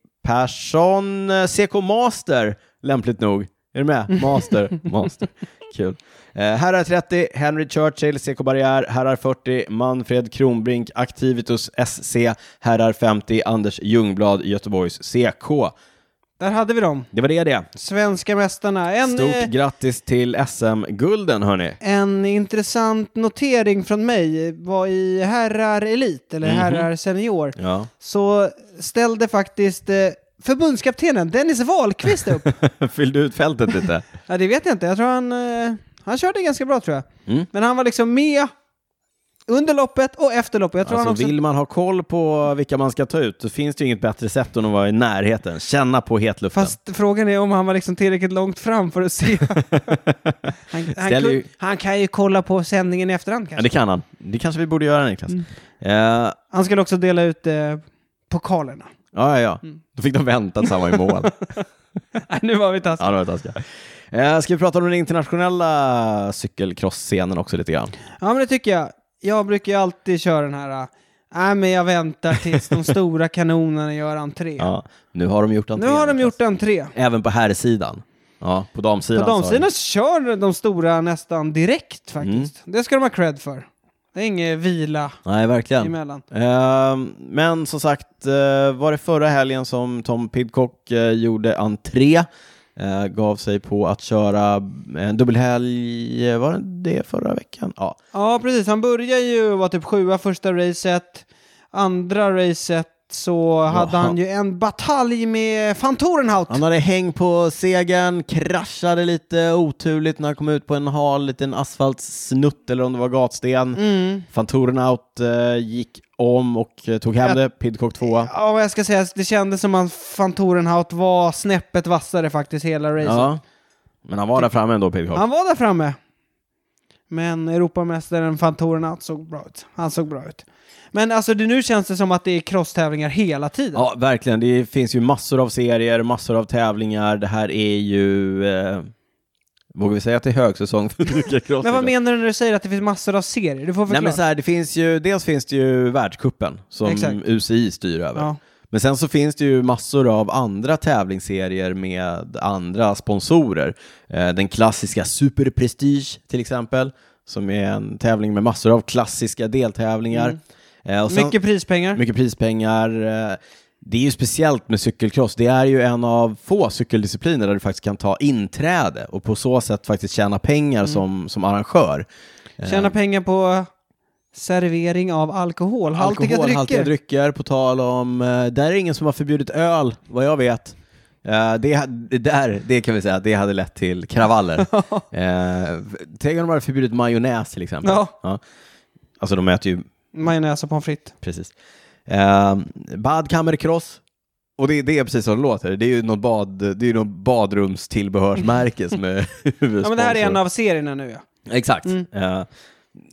Persson, eh, CK Master, lämpligt nog. Är du med? Master, master. Kul. Eh, herrar 30, Henry Churchill, CK Barriär. Herrar 40, Manfred Kronbrink, Activitus SC. Herrar 50, Anders Ljungblad, Göteborgs CK.
Där hade vi dem.
Det var det det.
Svenska mästarna. En,
Stort
eh,
grattis till SM-gulden hörni.
En intressant notering från mig var i herrar elit, eller
Mhm.
herrar senior,
Ja.
så ställde faktiskt eh, förbundskaptenen Dennis Wahlqvist upp.
Fyllde ut fältet lite.
ja, det vet jag inte. Jag tror han, eh, han körde ganska bra tror jag.
Mm.
Men han var liksom med under loppet och efter loppet. Jag tror
Alltså,
han också...
Vill man ha koll på vilka man ska ta ut, då finns det ju inget bättre sätt än att vara i närheten. Känna på hetluften.
Fast frågan är om han var liksom tillräckligt långt fram för att se. han, han,
Ställer
kun,
ju-
han kan ju kolla på sändningen i efterhand kanske.
Ja, det kan han. Det kanske vi borde göra, Niklas.
Mm.
Eh,
Han skulle också dela ut eh, pokalerna.
Ja, ja, ja.
Mm.
Då fick de vänta tills han var i mål.
Nej, nu var vi taskiga.
ja, det var taskiga. Eh, ska vi prata om den internationella cykelcross-scenen också lite grann?
Ja, men det tycker jag. Jag brukar ju alltid köra den här, äh, nej men jag väntar tills de stora kanonerna gör entré.
Ja. Nu har de gjort
nu
entré.
har de
Niklas.
gjort entré.
Även på herrsidan. Ja, på
På
damsidan. sa
damsidan kör de stora nästan direkt
Mm.
faktiskt. Det ska de ha cred för. Det är ingen vila
jag. Nej, verkligen.
emellan.
Ehm, men som sagt, eh, var det förra helgen som Tom Pidcock eh, gjorde entré, eh, gav sig på att köra en dubbelhelg, eh, var det det förra veckan? Ja,
Ja, precis. Han börjar ju vara typ sjua första racet. Andra racet så hade han ju en batalj med van Torenhout.
Han hade häng på segern, kraschade lite oturligt när han kom ut på en hal liten asfaltsnutt eller om det var gatsten.
Mm.
Fantoren out eh, gick om och eh, tog hem det, Pidcock tvåa.
Ja, vad jag ska säga, det kändes som att van Torenhout var snäppet vassare faktiskt hela racet.
Ja. Men han var där framme ändå, Pidcock.
Han var där framme. Men Europamästaren Fantoren såg bra ut. Han såg bra ut. Men alltså det, nu känns det som att det är crosstävlingar hela tiden.
Ja, verkligen. Det finns ju massor av serier, massor av tävlingar. Det här är ju... Eh, vågar vi säga att det är högsäsong för cykelcross?
Men vad
idag?
menar du när du säger att det finns massor av serier? Du får
Nej,
förklara.
men så här, det finns ju, dels finns det ju världskuppen som
Exakt.
UCI styr över.
ja.
Men sen så finns det ju massor av andra tävlingsserier med andra sponsorer. Eh, Den klassiska Super Prestige till exempel, som är en tävling med massor av klassiska deltävlingar. Eh, och sen-
Mycket prispengar.
mycket prispengar. Eh, Det är ju speciellt med cykelcross. Det är ju en av få cykeldiscipliner där du faktiskt kan ta inträde och på så sätt faktiskt tjäna pengar som, som arrangör.
Tjäna pengar på servering av alkoholhaltiga
Alkoholhaltiga
drycker.
drycker, på tal om... eh, Där är det ingen som har förbjudit öl, vad jag vet. Eh, Det, ha- det, där, det kan vi säga, det hade lett till kravaller. Eh, Tänk om de hade förbjudit majonnäs till exempel.
Ja.
Alltså de äter ju
Majonnäs och pommes frites.
precis. Eh, Badkammerkross. Och det, det är precis som det låter. Det är ju något, bad, det är ju något badrumstillbehörsmärke som är
Ja, men det här är en av Mm. serierna nu ja.
Exakt. Eh,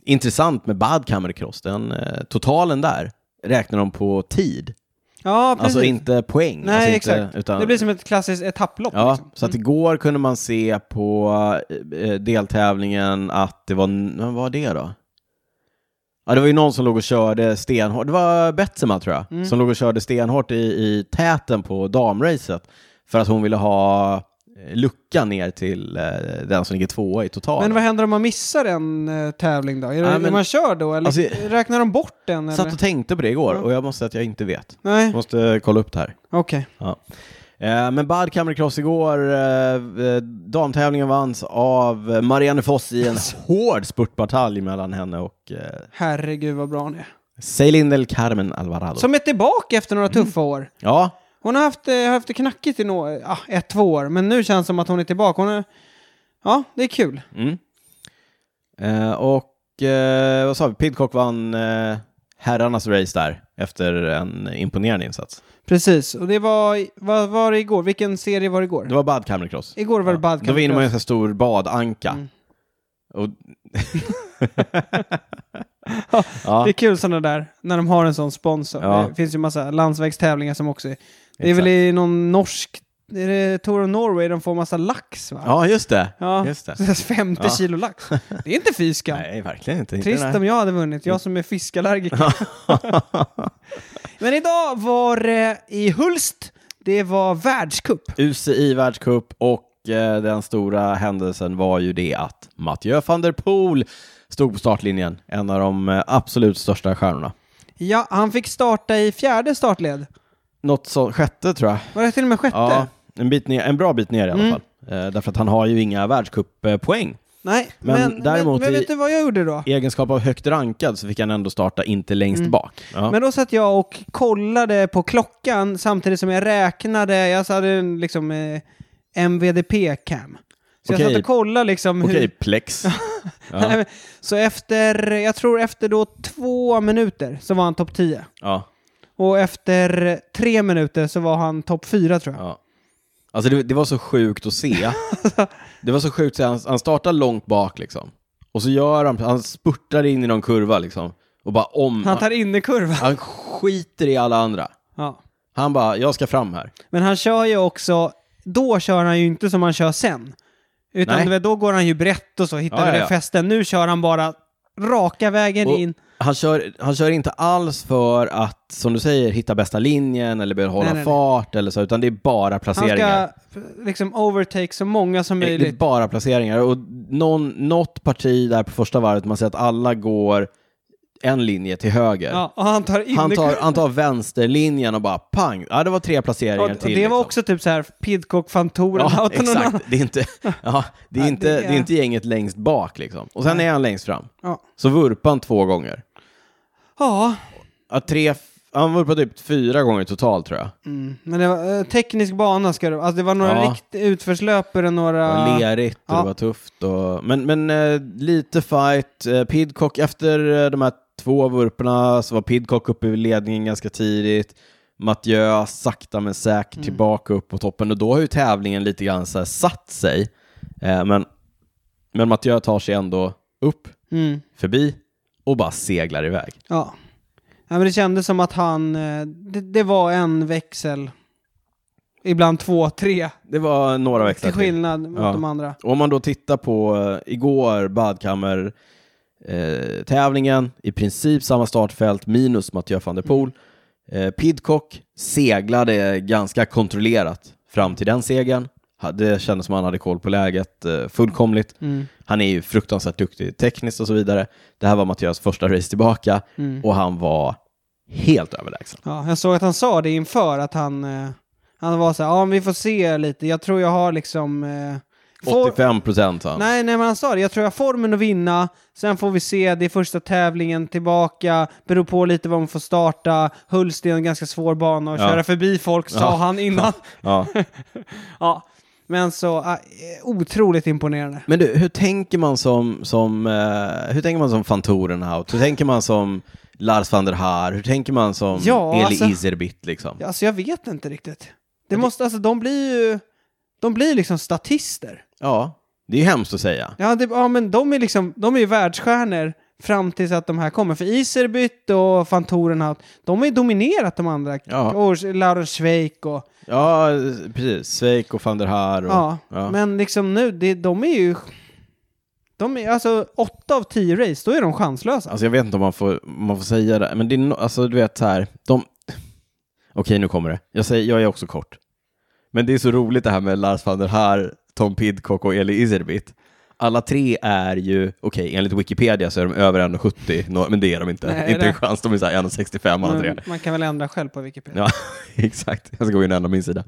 intressant med Badkammerkross. Den eh, totalen där räknar de på tid.
Ja, precis.
Alltså inte poäng.
Nej,
alltså inte,
exakt.
Utan,
Det blir som ett klassiskt etapplopp.
Ja,
liksom.
så att igår kunde man se på eh, deltävlingen att det var, vad var det då? Ja, det var ju någon som låg och körde stenhårt, det var Betsema tror jag,
Mm.
som låg och körde stenhårt i, i täten på damracet för att hon ville ha eh, lucka ner till eh, den som ligger tvåa i totalen.
Men vad händer om man missar en eh, tävling då? Är, det,
Nej,
är
men-
man kör då? Eller
Alltså,
räknar de bort den?
jag
Eller?
satt och tänkte på det igår och jag måste säga att jag inte vet.
Nej,
Jag måste kolla upp det här.
okej.
Ja. Eh, Men Bad Kammercross igår, eh, eh, damtävlingen vanns av eh, Marianne Foss i en hård spurtbatalj mellan henne och eh,
Herregud vad bra hon är.
Ceylin del Carmen Alvarado.
Som är tillbaka efter några
Mm.
tuffa år.
Ja,
Hon har haft, eh, har haft det knackigt i nå, ah, ett, två år, men nu känns det som att hon är tillbaka. Hon är, ja, det är kul.
mm. Eh, och eh, vad sa vi, Pidcock vann eh, herrarnas race där efter en imponerande insats.
Precis, och det var, vad var det igår? Vilken serie var det igår?
Det var Bad Kammercross.
Igår var det Badkamp.
Då vinner man ju en sån här stor badanka.
Mm.
Och,
Det
ja,
är kul sådana där, när de har en sån sponsor.
Ja.
Det finns ju massa landsvägstävlingar som också är... Det är
Exakt.
väl i någon norsk... Är det Tour of Norway de får massa lax va?
ja, just det.
Ja,
Just det.
50
Ja.
kilo lax. Det är inte fy skam.
Nej, verkligen inte. Inte
Trist
den här.
om jag hade vunnit, jag som är fiskallergiker. Men idag var det i Hulst, det var världscup.
UCI världscup och eh, den stora händelsen var ju det att Mathieu van der Poel stod på startlinjen, en av de eh, absolut största stjärnorna.
Ja, han fick starta i fjärde startled.
Något sånt, sjätte tror jag.
Var det till och med sjätte? Mm.
Ja, en, bit ner, en bra bit ner i alla fall. Eh, därför att han har ju inga världscuppoäng.
Nej,
Men
men, men,
däremot
men
i-
vet du vad jag gjorde då?
I egenskap av högt rankad så fick han ändå starta inte längst bak. Ja.
Mm. Men då satt jag och kollade på klockan samtidigt som jag räknade. Jag hade en liksom eh, MVDP-cam. Så jag
Okej.
satt och kollade liksom
Okej,
hur...
Plex.
Nej,
ja.
men- Så efter, jag tror efter då två minuter så var han topp 10.
Ja,
Och efter tre minuter så var han topp 4 tror jag.
ja. Alltså det, det var så sjukt att se. det var så sjukt att se. han, han startar långt bak liksom. Och så gör han, han spurtar in i någon kurva liksom. Och bara om,
Han
han,
tar in i kurvan.
han skiter i alla andra.
Ja.
Han bara, jag ska fram här.
Men han kör ju också, då kör han ju inte som han kör sen. Utan
Nej.
du vet, då går han ju brett och så hittar
Ja,
vi
ja,
den
ja.
fästen. Nu kör han bara raka vägen
Och
in.
han, kör, han kör inte alls för att, som du säger, hitta bästa linjen eller behålla
Nej, nej, nej.
fart eller så, utan det är bara
Han
placeringar.
ska liksom overtake så många som
Det är
möjligt.
bara placeringar. Och någon, något parti där på första varvet, man ser att alla går en linje till höger.
Ja, och han tar in
Han
i
tar,
kurvan.
han tar vänsterlinjen och bara pang! Ja, det var tre placeringar
och, och
till.
det var
liksom.
också typ så här Pidcock, Fantoren
Ja,
och någon annan.
exakt. Det är, inte, ja, det, är
Ja,
inte,
det är-
det är inte gänget längst bak liksom. Och sen är han längst fram.
Ja.
Så vurpar han två gånger.
ja,
Ja, tre, f- han vurpar typ fyra gånger totalt tror jag.
mm. men det var eh, teknisk bana ska det vara. Alltså det var några
Ja.
rikt utförslöpare,
Det
några...
var lerigt och
ja.
det var tufft. Och, men men eh, lite fight. Eh, Pidcock, efter eh, de här två vurporna så var Pidcock uppe i ledningen ganska tidigt. Mathieu sakta men säkert
Mm.
tillbaka upp på toppen och då har ju tävlingen lite grann så här satt sig. Eh, men, men Mathieu tar sig ändå upp,
Mm.
förbi och bara seglar iväg.
Ja. ja, men det kändes som att han, eh, det, det var en växel, ibland två, tre,
Det var några växlar
till skillnad mot
Ja.
de andra.
Om man då tittar på eh, igår badkammer eh, tävlingen, i princip samma startfält minus Mathieu van der
Mm.
Poel. Eh, Pidcock seglade ganska kontrollerat fram till den segern. Ha- Det kändes som han hade koll på läget eh, fullkomligt.
Mm.
Han är ju fruktansvärt duktig tekniskt och så vidare. Det här var Mattias första race tillbaka
Mm.
och han var helt överlägsen.
Ja, jag såg att han sa det inför, att han, eh, han var så här, ja men vi får se lite, jag tror jag har liksom... Eh, for-
85 procent han.
Nej, nej, men han sa det. Jag tror jag har formen att vinna. Sen får vi se. Det är första tävlingen tillbaka. Beror på lite vad man får starta. Hulst är en ganska svår bana att
Ja.
köra förbi folk, sa
Ja.
han innan.
Ja.
ja. Men så, eh, otroligt imponerande.
Men du, hur tänker man som, som, eh, hur tänker man som van Torenhout? Hur tänker man som Lars van der Haar? Hur tänker man som
Ja,
Eli
alltså-
Izerbit liksom?
Ja, Alltså jag vet inte riktigt. Det måste, alltså de blir ju, de blir liksom statister.
Ja, det är ju hemskt att säga.
Ja, det, ja men de är liksom, de är ju världsstjärnor fram tills att de här kommer. För Iserbyt och van Torenhout, de har ju dominerat de andra.
Ja.
Och Lauren Schweik och...
Ja, precis. Sveik och van der Haar. Och,
Ja,
ja.
men liksom nu, det, de är ju... De är, alltså, åtta av tio race, då är de chanslösa.
Alltså jag vet inte om man får, om man får säga det, men det är no, alltså du vet så här, de... Okej, nu kommer det. Jag, säger, jag är också kort. Men det är så roligt det här med Lars van der Haar, Tom Pidcock och Eli Izerbit. Alla tre är ju, okej, enligt Wikipedia så är de över 1,70, nå- men det är de inte.
Nej,
inte
nej. Mm.
en chans, de är så här 1,65 alla tre.
Men man kan väl ändra själv på Wikipedia.
Ja, exakt. Jag ska gå in och ändra min sida.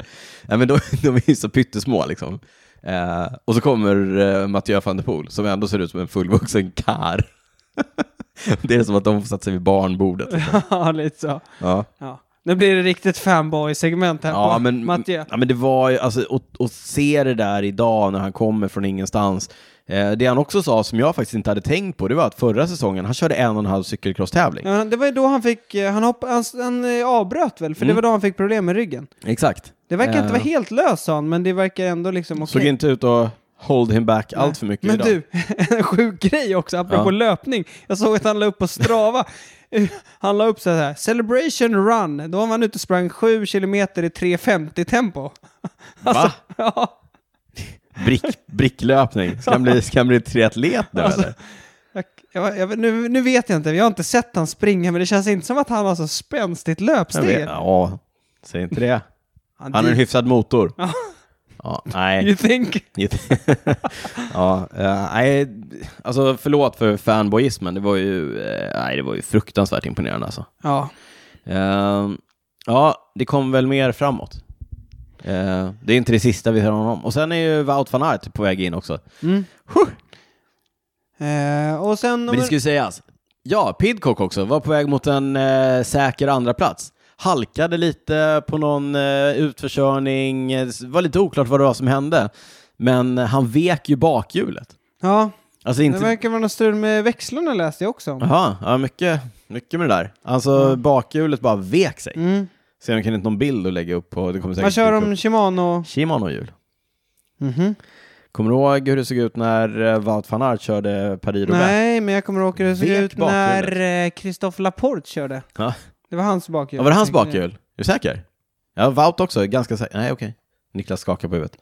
Nej, men de, de är ju så pyttesmå liksom. Eh, och så kommer eh, Mathieu van der Poel, som ändå ser ut som en fullvuxen kar. det är som att de får sätta sig vid barnbordet.
Ja, lite så.
Ja,
Ja. Nu blir det riktigt fanboy-segment här
ja,
på
men,
Mattias.
ja men det var ju, alltså, och, och se det där idag när han kommer från ingenstans. Eh, det han också sa, som jag faktiskt inte hade tänkt på, det var att förra säsongen, han körde en och en halv cykelcross-tävling.
Ja, men det var ju då han fick, eh, han, hopp, han, s- han eh, avbröt väl, för det
Mm.
var då han fick problem med ryggen.
Exakt.
Det verkar inte
Eh,
vara helt löst sa han, men det verkar ändå liksom okej.
Såg inte ut att hold him back allt för mycket
Men
idag.
du, en sjuk grej också, apropå
Ja.
löpning. Jag såg att han la upp på Strava. Eh, han la upp så här, Celebration Run. Då var han ute och sprang 7 kilometer i 3.50 tempo. alltså,
Va?
ja,
Brick, bricklöpning. Ska han bli, ska han bli triatlet nu
Alltså,
eller?
jag, jag, jag, nu, nu vet jag inte, jag har inte sett han springa, men det känns inte som att han har så spänstigt
Jag vet-
löpsteg.
Ja, säg inte det. Han
det-
har en hyfsad motor.
Ja.
Ja, nej.
You think?
ja, eh, nej, alltså förlåt för fanboyismen. Det var ju, eh, nej, det var ju fruktansvärt imponerande alltså.
Ja.
Ehm, ja, det kom väl mer framåt. Eh, det är inte det sista vi hör honom. Och sen är ju Wout van Aert på väg in också.
Mm.
Huh.
Eh, och sen...
Men det ska ju sägas. Ja, Pidcock också var på väg mot en eh, säker andra plats. Halkade lite på någon eh, utförkörning. Eh, Det var lite oklart vad det var som hände. Men eh, han vek ju bakhjulet.
Ja,
Alltså
det
inte...
verkar vara något strul med växlarna läste jag också om.
Jaha, ja, mycket, mycket med det där. Alltså bakhjulet bara vek sig.
Mm.
Se om jag kan hitta någon bild att lägga upp på. Det kommer säkert
Man kör
dyka
om
upp.
Shimano...
Shimano-hjul.
Mhm.
Kommer du ihåg hur det såg ut när eh, Wout van Aert körde paris roubaix
Nej, men jag kommer ihåg hur det såg
Vek
ut när eh, Christophe Laporte körde.
Ja.
Det var hans bakhjul.
Ja, var det hans
tänkte jag.
bakhjul? Är du säker? Ja, Wout också, ganska säker. Nej, okej. Niklas skakar på huvudet.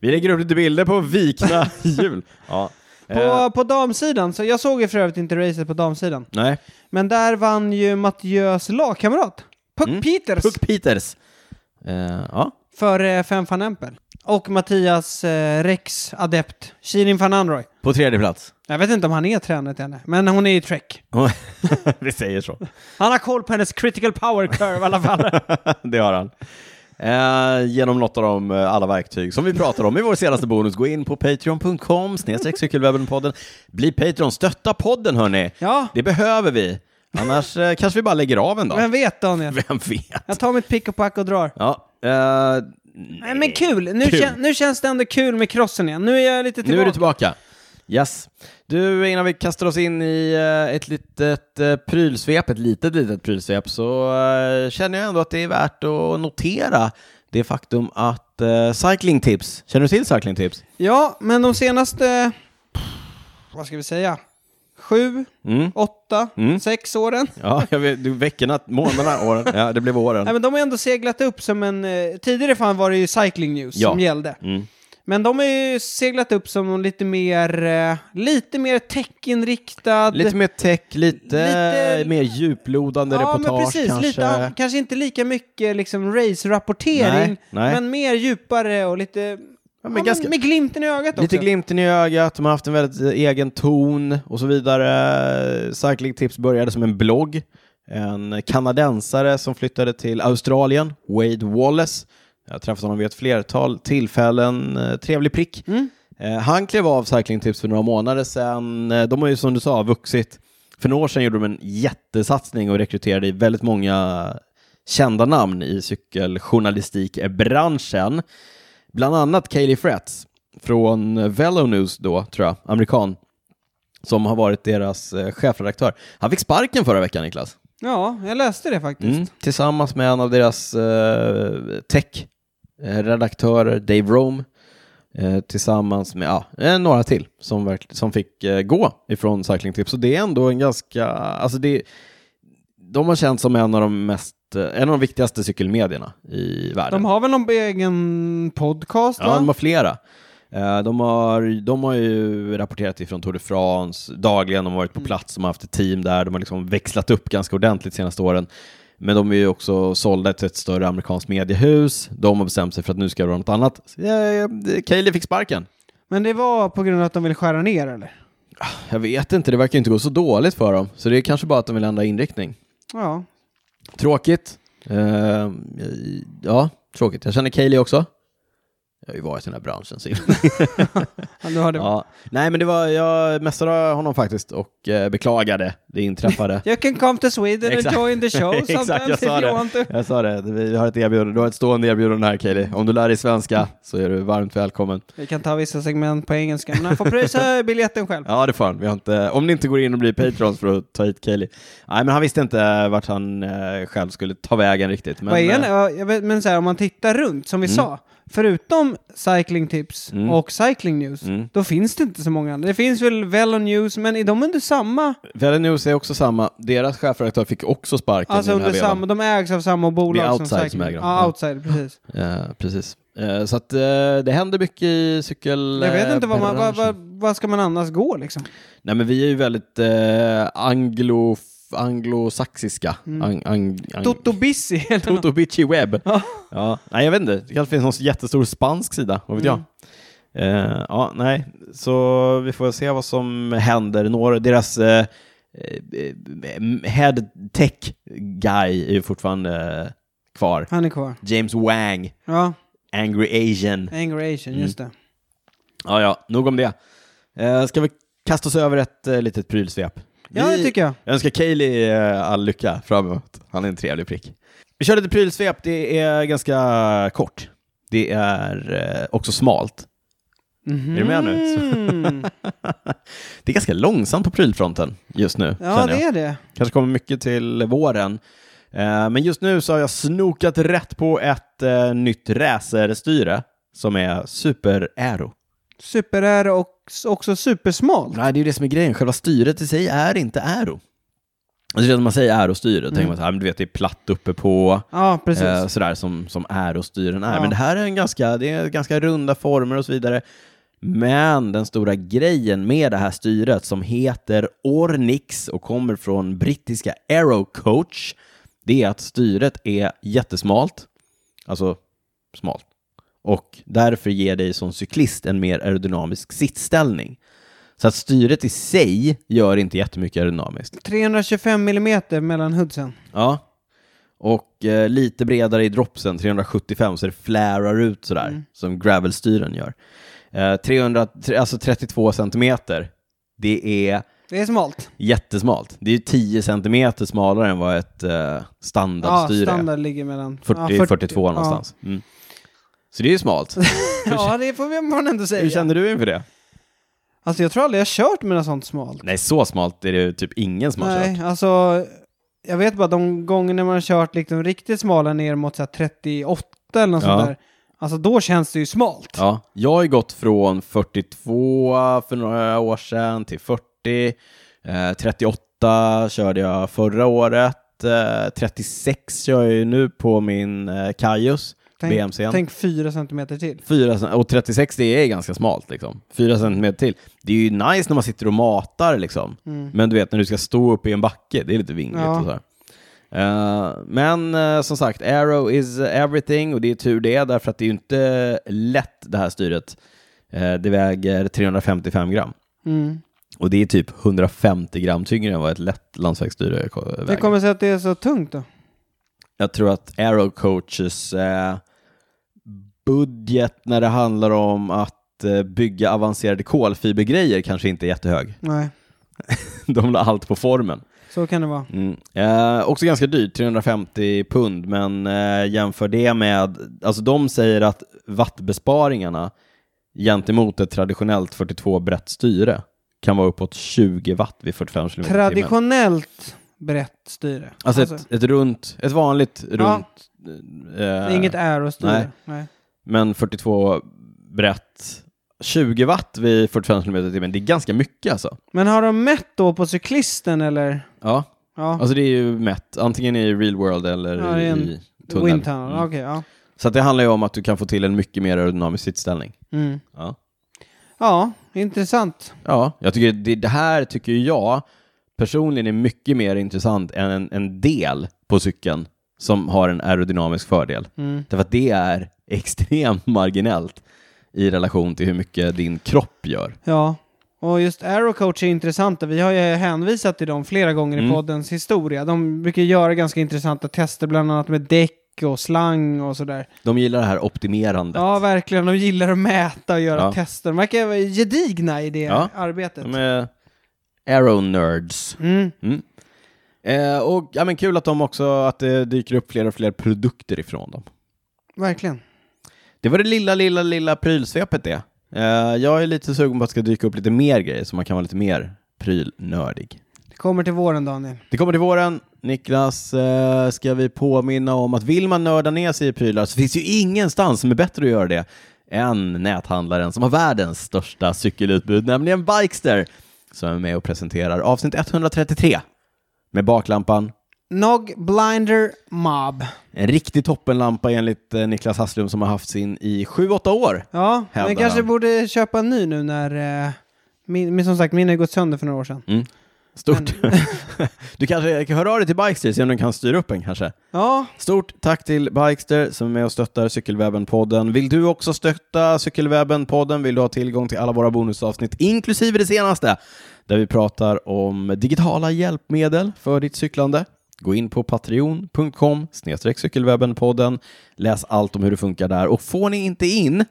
Vi lägger upp lite bilder på vikna hjul. Ja. Eh,
På, på damsidan, så jag såg ju för övrigt inte racet på damsidan.
nej,
Men där vann ju Mattias lagkamrat, Puck
Mm.
Peters,
Puck Peters. Eh, ja.
för eh, Fem van Empel. Och Mattias eh, Rex adept, Shirin van Androy.
På tredje plats.
Jag vet inte om han är tränare till henne, men hon är i Trek.
Vi säger så.
Han har koll på hennes critical power curve i alla fall.
det har han. Eh, genom något av de eh, alla verktyg som vi pratar om i vår senaste bonus. Gå in på patreon.com snedstreck cykelwebbenpodden. Bli Patreon, stötta podden hörni.
ja,
Det behöver vi. Annars eh, kanske vi bara lägger av en dag.
vem vet Daniel?
Vem vet?
Jag tar mitt pick och pack och drar.
Ja, eh,
Nej men kul! Nu,
Kul.
kän- nu känns det ändå kul med crossen igen. Nu är jag lite tillbaka.
nu är du tillbaka. Yes. Du, innan vi kastar oss in i eh, ett litet eh, prylsvep, ett litet, litet prylsvep, så eh, känner jag ändå att det är värt att notera det faktum att eh, Cycling Tips, känner du till Cycling Tips?
Ja, men de senaste... Vad ska vi säga? sju,
Mm.
åtta,
Mm.
sex åren.
Ja, jag vet, du, veckorna, månaderna, åren. Ja, det blev åren.
Nej, men de har ändå seglat upp som en... eh, Tidigare fan var det ju Cycling News
Ja.
som gällde.
Mm.
Men de har ju seglat upp som någon lite mer, eh, lite mer techinriktad.
Lite mer tech, lite,
Lite-
mer djuplodande
ja,
reportage
men precis.
kanske.
Lite, an- kanske inte lika mycket liksom race-rapportering,
Nej, nej.
men mer djupare och lite... Ja, men
ganska-
med glimten i ögat också.
Lite glimten i ögat, de har haft en väldigt eh, egen ton och så vidare. Cycling Tips började som en blogg. En kanadensare som flyttade till Australien, Wade Wallace. Jag har träffat honom vid ett flertal tillfällen. Eh, Trevlig prick.
Mm.
Eh, Han klev av Cycling Tips för några månader sedan. Eh, De har ju som du sa vuxit. För några år sedan gjorde de en jättesatsning och rekryterade väldigt många kända namn i cykeljournalistikbranschen. Bland annat Kaeli Fretz från Velo News då, tror jag, amerikan, som har varit deras eh, chefredaktör. Han fick sparken förra veckan, Niklas.
Ja, jag läste det faktiskt.
Mm. Tillsammans med en av deras eh, tech-redaktörer, Dave Rome, eh, tillsammans med ja, eh, några till som, verk- som fick eh, gå ifrån Cycling Tips. Så det är ändå en ganska... Alltså det, de har känts som en av de mest eh, en av de viktigaste cykelmedierna i världen.
De har väl någon egen podcast,
Ja,
va?
de har flera. Eh, De har, de har ju rapporterat ifrån Tour de France dagligen, de har varit på plats, de har haft ett team där, de har liksom växlat upp ganska ordentligt de senaste åren. Men de är ju också sålda till ett större amerikanskt mediehus, de har bestämt sig för att nu ska det vara något annat. Så, eh, Kaeli fick sparken.
Men det var på grund av att de ville skära ner, eller?
Jag vet inte, det verkar ju inte gå så dåligt för dem, så det är kanske bara att de vill ändra inriktning.
Ja.
Tråkigt. Eh, ja, tråkigt. Jag känner Kaeli också. Jag har ju varit i den här branschen så himla
Ja, Du hörde
Ja. Nej, men det var, jag messade honom faktiskt och eh, beklagade det inträffade.
You can come to Sweden
Exakt.
and join the show
Exakt, jag
sometimes if
sa
you
det.
want to.
Jag sa det, vi har ett erbjudande, du har ett stående erbjudande här Kaeli. Om du lär dig svenska så är du varmt välkommen.
Vi kan ta vissa segment på engelska, men han får pröjsa biljetten själv.
Ja, det får han. Vi har inte, om ni inte går in och blir patrons för att ta hit Kaeli. Nej, men han visste inte vart han eh, själv skulle ta vägen riktigt. Men,
Vad är en,
eh,
ja, jag vet, men så här, om man tittar runt, som vi sa, förutom Cycling Tips
Mm.
och Cycling News,
Mm.
då finns det inte så många andra. Det finns väl Velo News, men är de under samma,
Valley News är också samma, deras chefredaktör fick också sparken
alltså
i den här
under
vevan.
samma, de ägs av samma bolag
Det är
som
Outside
Cycling?
som äger dem. Mm.
Ja,
Ja.
Outside, precis.
Eh, precis. Eh, så att eh, det händer mycket i cykel...
Jag vet
eh,
inte, vad, man, vad,
branschen.
vad, vad ska man annars gå liksom?
Nej men vi är ju väldigt eh, anglo, anglosaxiska. Ang, ang, ang,
Toto Bissi, eller något.
Toto Bitchy Web.
Mm. Ja.
ja. Nej jag vet inte, det kanske finns någon jättestor spansk sida, vad vet jag.
Mm.
Eh, ja, nej, så vi får se vad som händer. Några, deras eh, eh, head tech guy är ju fortfarande eh, kvar.
Han är kvar.
James Wang,
Ja,
Angry Asian.
Angry Asian, just
Mm.
det.
Ja, ja, nog om det. Eh, ska vi kasta oss över ett eh, litet prylsvep?
Ja, det
Vi-
tycker jag.
Jag önskar Kaeli eh, all lycka framåt. Han är en trevlig prick. Vi kör lite prylsvep. Det är ganska kort. Det är eh, också smalt.
Mhm.
Är du med nu?
Mm.
Det är ganska långsamt på prylfronten just nu.
Ja,
känner jag.
det är det.
Kanske kommer mycket till våren. Eh, Men just nu så har jag snokat rätt på ett eh, nytt racerstyre som är Super Aero.
Super-R och s- också supersmalt.
Nej, det är ju det som är grejen. Själva styret i sig är inte aero. Mm. Alltså det är när man säger aerostyre, då tänker man så här, men du vet, det är platt uppe på,
Ja, precis.
eh, sådär som, som aerostyren är.
Ja.
Men det här är en ganska, det är ganska runda former och så vidare. Men den stora grejen med det här styret som heter Ornix och kommer från brittiska Aero Coach, det är att styret är jättesmalt, alltså smalt, och därför ger dig som cyklist en mer aerodynamisk sittställning. Så att styret i sig gör inte jättemycket aerodynamiskt.
325 millimeter mellan hoodsen.
Ja. Och eh, lite bredare i dropsen, 375, så det flärar ut sådär,
Mm.
som gravelstyren gör. Eh, 300, tre- alltså 32 centimeter, det är
Det är smalt.
jättesmalt. Det är ju 10 centimeter smalare än vad ett eh,
Ja,
standardstyre
standard ligger mellan...
är. 40,
ja, 40
42 någonstans. Mm. Så det är ju smalt.
Ja. ja, det får vi- man ändå
Hur
säga.
känner du inför det?
Alltså jag tror aldrig jag har kört med något sånt smalt.
Nej, så smalt är det ju typ ingen som har kört.
Nej, alltså... Jag vet bara de gångerna man har kört liksom riktigt smala ner mot så här 38 eller något
Ja.
sånt där. Alltså då känns det ju smalt.
Ja, jag har ju gått från 42 för några år sedan till 40 Eh, 38 körde jag förra året. Eh, 36 kör jag ju nu på min eh, Kajus,
Tänk,
BMC'n.
tänk fyra centimeter till.
Fyra, cent- och 36 det är ganska smalt liksom. 4 centimeter till. Det är ju nice när man sitter och matar liksom. Men du vet när du ska stå upp i en backe, det är lite vingligt
Mm. Ja.
och så här. Eh, men eh, som sagt, arrow is eh, everything och det är tur det, därför att det är ju inte lätt det här styret. Eh, det väger 355 gram.
Mm.
Och det är typ 150 gram tyngre än vad ett lätt landsvägsstyre ko-
Det
väger.
kommer sig att det är så tungt då.
Jag tror att Arrow Coaches eh, budget när det handlar om att eh, bygga avancerade kolfibergrejer kanske inte är jättehög.
Nej,
De la allt på formen.
så kan det vara.
Mm. Eh, också ganska dyrt, 350 pund, men eh, jämför det med, alltså de säger att wattbesparingarna gentemot ett traditionellt 42 brett styre kan vara uppåt 20 watt vid 45 km
Traditionellt brett styre.
Alltså, ett, ett runt, ett vanligt
Ja.
runt, eh,
inget aerostyre.
nej.
Nej.
men 42 brett, 20 watt vid 45 km i timmen. Det är ganska mycket alltså.
Men har de mätt då på cyklisten eller?
Ja,
Ja,
alltså det är ju mätt, antingen i real world eller
Ja, det är en
i tunnel.
wind tunnel.
Mm.
Okej, ja.
Så att det handlar ju om att du kan få till en mycket mer aerodynamisk sittställning.
Mm.
Ja,
Ja, intressant.
ja jag tycker det, det här tycker ju jag personligen är mycket mer intressant än en, en del på cykeln som har en aerodynamisk fördel.
Mm.
Därför att det är extremt marginellt i relation till hur mycket din kropp gör.
Ja, och just Aerocoach är intressanta. Vi har ju hänvisat till dem flera gånger
Mm.
i poddens historia. De brukar göra ganska intressanta tester, bland annat med däck och slang och sådär.
De gillar det här optimerandet.
Ja, verkligen. De gillar att mäta och göra
Ja.
tester. De verkar vara gedigna i det
Ja.
arbetet.
De är aero-nerds.
Mm.
Eh, och ja, men kul att de också, att det dyker upp fler och fler produkter ifrån dem.
Verkligen.
Det var det lilla, lilla, lilla prylsvepet det. Eh, jag är lite sugen på att det ska dyka upp lite mer grejer så man kan vara lite mer prylnördig.
Det kommer till våren, Daniel.
Det kommer till våren. Niklas, eh, ska vi påminna om att vill man nörda ner sig i prylar så finns ju ingenstans som är bättre att göra det än näthandlaren som har världens största cykelutbud, nämligen Bikester, som är med och presenterar avsnitt 133 med baklampan,
Nog Blinder Mob.
en riktig toppenlampa enligt eh, Niklas Hasslum som har haft sin i 7-8 år.
Ja,
Hävdar
men kanske
han.
borde köpa en ny nu när... Eh, min, men som sagt, min har gått sönder för några år sedan.
Stort. du kanske kan höra av dig till Bikester, se om de kan styra upp en kanske.
Ja,
Stort tack till Bikester som är med och stöttar Cykelwebben-podden. Vill du också stötta Cykelwebben-podden vill du ha tillgång till alla våra bonusavsnitt, inklusive det senaste, där vi pratar om digitala hjälpmedel för ditt cyklande. Gå in på patreon.com cykelwebbenpodden, läs allt om hur det funkar där och får ni inte in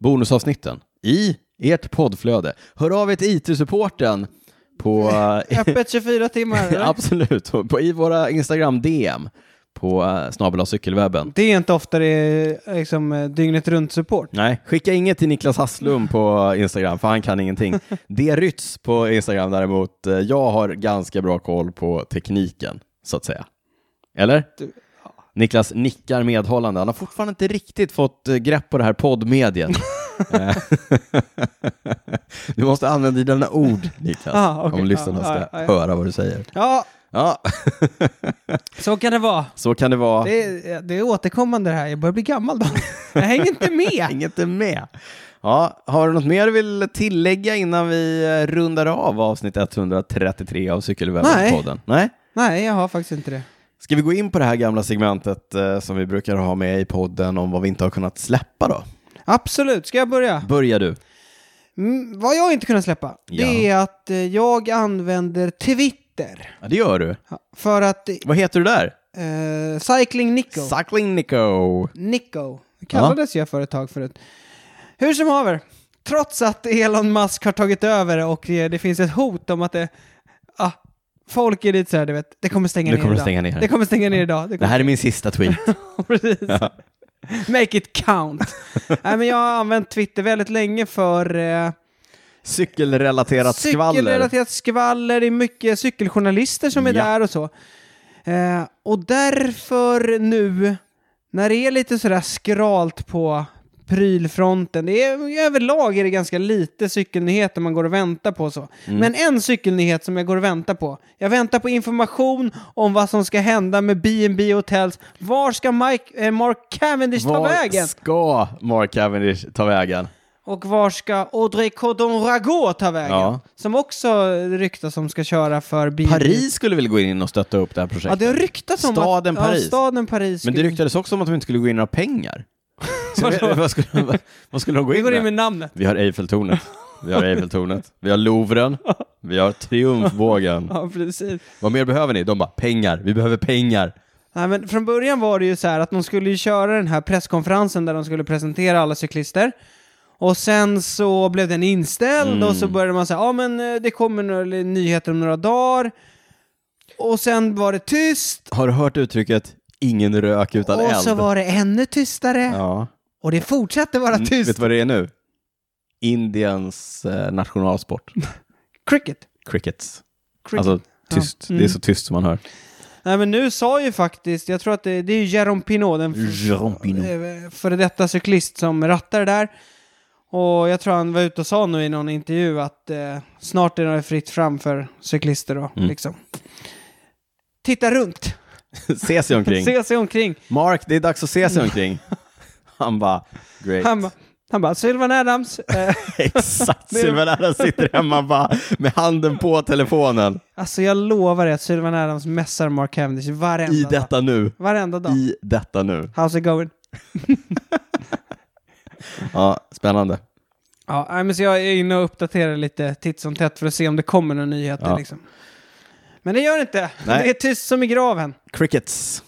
bonusavsnitten i ert poddflöde, hör av er till IT-supporten på eh,
öppet 24 timmar. eller?
Absolut, Och på, i våra Instagram DM på uh, snabel cykelwebben.
Det är inte ofta det är liksom, eh, dygnet runt-support.
Nej, skicka inget till Niklas Hasslum på Instagram, för han kan ingenting. Det rytts på Instagram däremot. Eh, Jag har ganska bra koll på tekniken, så att säga. Eller?
Du-
Niklas nickar medhållande. Han har fortfarande inte riktigt fått eh, grepp på det här poddmediet. Eh, du måste använda dina ord, Niklas,
Ah, okej.
om lyssnarna
Ah,
ska
ah, ah, ja.
höra vad du säger.
Ja,
Ja,
så kan det vara.
så kan det vara.
Det är, det är återkommande det här. Jag börjar bli gammal då. Jag hänger inte med.
Inget är med. Ja, har du något mer du vill tillägga innan vi eh, rundar av avsnitt 133 av Cykelwebben-podden? Nej.
Nej, jag har faktiskt inte det.
Ska vi gå in på det här gamla segmentet eh, som vi brukar ha med i podden om vad vi inte har kunnat släppa då?
Absolut, ska jag börja?
Börja du.
Mm, vad jag inte kunnat släppa, det är att eh, jag använder Twitter.
Ja, det gör du.
För att eh,
Vad heter du där?
Cycling Nico,
Cycling Nico.
Nico kallades jag för ett tag förut. Hur som haver, trots att Elon Musk har tagit över och eh, det finns ett hot om att det, ah, folk är lite såhär, du vet, det kommer stänga
Nu
ner
kommer det
idag.
stänga ner.
Det kommer stänga ner idag.
Det
kommer-
här är min sista tweet.
Precis. Make it count. Nej, men jag har använt Twitter väldigt länge för eh,
Cykelrelaterat skvaller.
cykelrelaterat skvaller. Det är mycket cykeljournalister som är
Ja.
där och så. Eh, och därför nu, när det är lite sådär skralt på prylfronten. Det är, överlag är det ganska lite cykelnyheter man går och väntar på. så.
Mm.
Men en cykelnyhet som jag går och väntar på. Jag väntar på information om vad som ska hända med B&B Hotels. Var ska Mike, eh, Mark Cavendish ta vägen?
ska Mark Cavendish ta vägen?
Och var ska Audrey Cordon Ragot ta vägen?
Ja.
Som också ryktas som ska köra för B&B.
Paris skulle väl gå in och stötta upp det här
Ja,
projektet?
det har ryktats om
Staden
att
Paris.
Ja, staden Paris.
Men det
skulle-
ryktades också om att de inte skulle gå in några pengar. Så jag vet- vad, skulle, vad, vad skulle de gå
Vi
in
går in
med?
med namnet.
Vi har Eiffeltornet. Vi har Eiffeltornet. Vi har Louvren. Vi har Triumfbågen.
Ja, precis.
Vad mer behöver ni? De bara, pengar. Vi behöver pengar.
Nej, men från början var det ju så här att de skulle ju köra den här presskonferensen där de skulle presentera alla cyklister. Och sen så blev den inställd och
Mm.
så började man säga ja men eh, det kommer några nyheter om några dagar. Och sen var det tyst
Har du hört uttrycket ingen rök utan
och
eld?
så var det ännu tystare
Ja.
och det fortsatte vara
Mm, Vet
tyst.
du vad det är nu? Indiens eh, nationalsport.
Cricket.
Crickets.
Cricket. Mm.
Alltså tyst. Det är så tyst som man hör.
Nej men nu sa ju faktiskt, jag tror att det, det är ju Jérôme Pinot, den f- eh, före detta cyklist som rattar det där. Och jag tror han var ute och sa nu i någon intervju att eh, snart är det fritt fram för cyklister då,
Mm.
liksom. Titta runt,
Se sig omkring.
se sig omkring.
Mark, det är dags att se sig omkring. Han bara, great.
Han, ba- han bara, Sylvan Adams, eh,
Exakt, Silvanära sitter hemma bara med handen på telefonen.
alltså jag lovar dig att Sylvan Adams mässar Mark Cavendish varenda
I
dag.
detta nu.
Varenda dag.
I detta nu.
How's it going?
Ja, spännande.
Ja, nej, men så jag är inne och uppdaterar lite titt som tätt för att se om det kommer några nyheter.
Ja.
Liksom. Men det gör det inte.
Nej.
Det är tyst som i graven.
Crickets.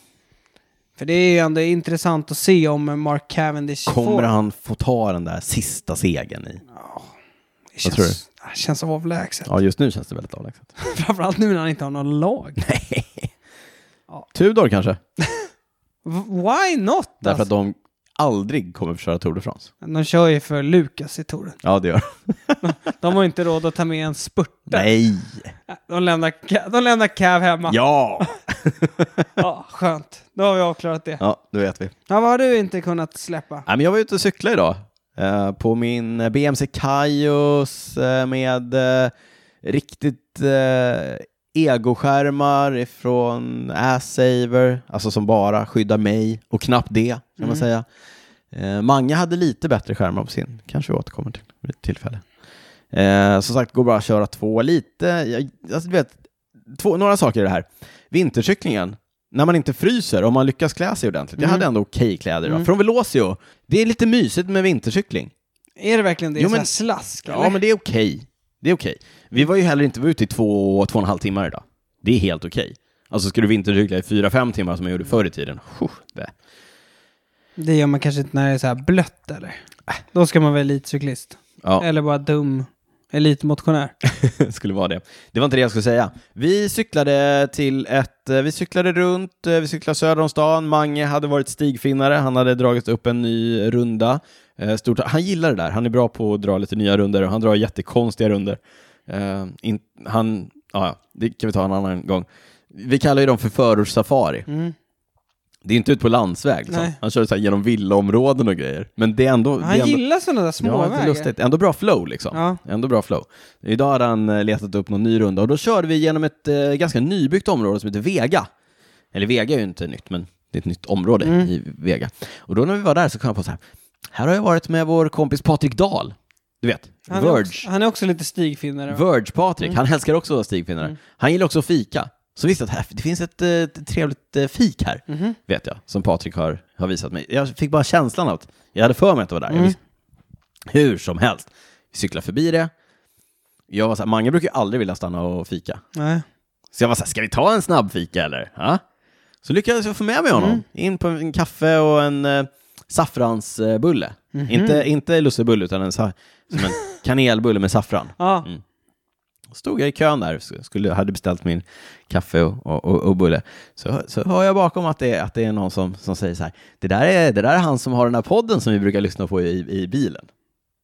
För det är ju ändå intressant att se om Mark Cavendish får...
Kommer han få ta den där sista segern i?
Det känns,
tror du?
det känns avlägset.
Ja, just nu känns det väldigt avlägset.
Framförallt nu när han inte har något lag.
Tudor kanske?
V- Why not?
Därför
Alltså?
att de aldrig kommer att köra Tour de France.
De kör ju för Lukas i touren.
Ja, det gör
De har inte råd att ta med en spurt.
Nej!
De lämnar, Ca- de lämnar Cav hemma.
Ja!
Ja, skönt. Då har vi avklarat det. Ja.
Ja, nu vet vi.
vad har du inte kunnat släppa?
Nej, men jag var ute och cyklade idag eh, på min eh, BMC Kaios eh, med eh, riktigt eh, egoskärmar från Assaver, alltså som bara skyddar mig och knappt det kan man säga. Eh, Mange hade lite bättre skärmar på sin, kanske vi återkommer till vid ett tillfälle. Eh, som sagt, går bara att köra två lite, jag, alltså, du vet, två, några saker i det här. Vintercyklingen, när man inte fryser, om man lyckas klä sig ordentligt. Jag hade ändå okej kläder idag, från Velocio. Det är lite mysigt med vintercykling.
Är det verkligen det?
Jo,
Så här
men-
slask?
Ja,
eller?
men det är okej. Det är okej. Vi var ju heller inte ute i två, två och en halv timmar idag. Det är helt okej. Alltså, ska du vintercykla i fyra, fem timmar som jag gjorde förr i tiden, Puh, det.
Det gör man kanske inte när det är så här blött eller? Då ska man vara elitcyklist.
Äh. Ja.
Eller bara dum elitmotionär.
skulle vara det. Det var inte det jag skulle säga. Vi cyklade till ett, eh, vi cyklade runt, eh, vi cyklade söder om stan, Mange hade varit stigfinnare, han hade dragit upp en ny runda. Eh, Stort, han gillar det där, han är bra på att dra lite nya runder och han drar jättekonstiga runder. Eh, in, han, ja, ja, det kan vi ta en annan gång. Vi kallar ju dem för förortssafari.
Mm.
Det är inte ut på landsväg, liksom.
Nej.
han kör så här genom villaområden och grejer. Men det är ändå... det
Han
är ändå...
gillar sådana där
Ja, det är
småvägar.
lustigt. Ändå bra flow liksom.
Ja.
Ändå bra flow. Idag hade han eh, letat upp någon ny runda och då körde vi genom ett eh, ganska nybyggt område som heter Vega. Eller Vega är ju inte nytt, men det är ett nytt område
Mm.
i Vega. Och då när vi var där så kom jag på så här, här har jag varit med vår kompis Patrik Dahl. Du vet,
han, är
Verge.
också, han är också lite stigfinnare. va?
Verge-Patrik, han älskar också stigfinnare. Han gillar också att fika. Så visst att här, det finns ett, eh, ett trevligt eh, fik här, vet jag, som Patrik har, har visat mig. Jag fick bara känslan av att jag hade för mig att det var där. Jag visste- Hur som helst, vi cyklar förbi det. Jag var så här, Mange brukar ju aldrig vilja stanna och fika.
Nej.
Så jag var så här, ska vi ta en snabb fika eller? Ja. Så lyckades jag få med mig honom in på en kaffe och en eh, saffransbulle. Inte, inte lussebulle, utan en, sa- som en kanelbulle med saffran.
Ja,
Mm. Stod jag i kön där, sk- skulle, hade beställt min kaffe och, och, och, och bulle. Så, så hör jag bakom att det, är- att det är någon som, som säger så här, det där, är, det där är han som har den här podden som vi brukar lyssna på i, i bilen.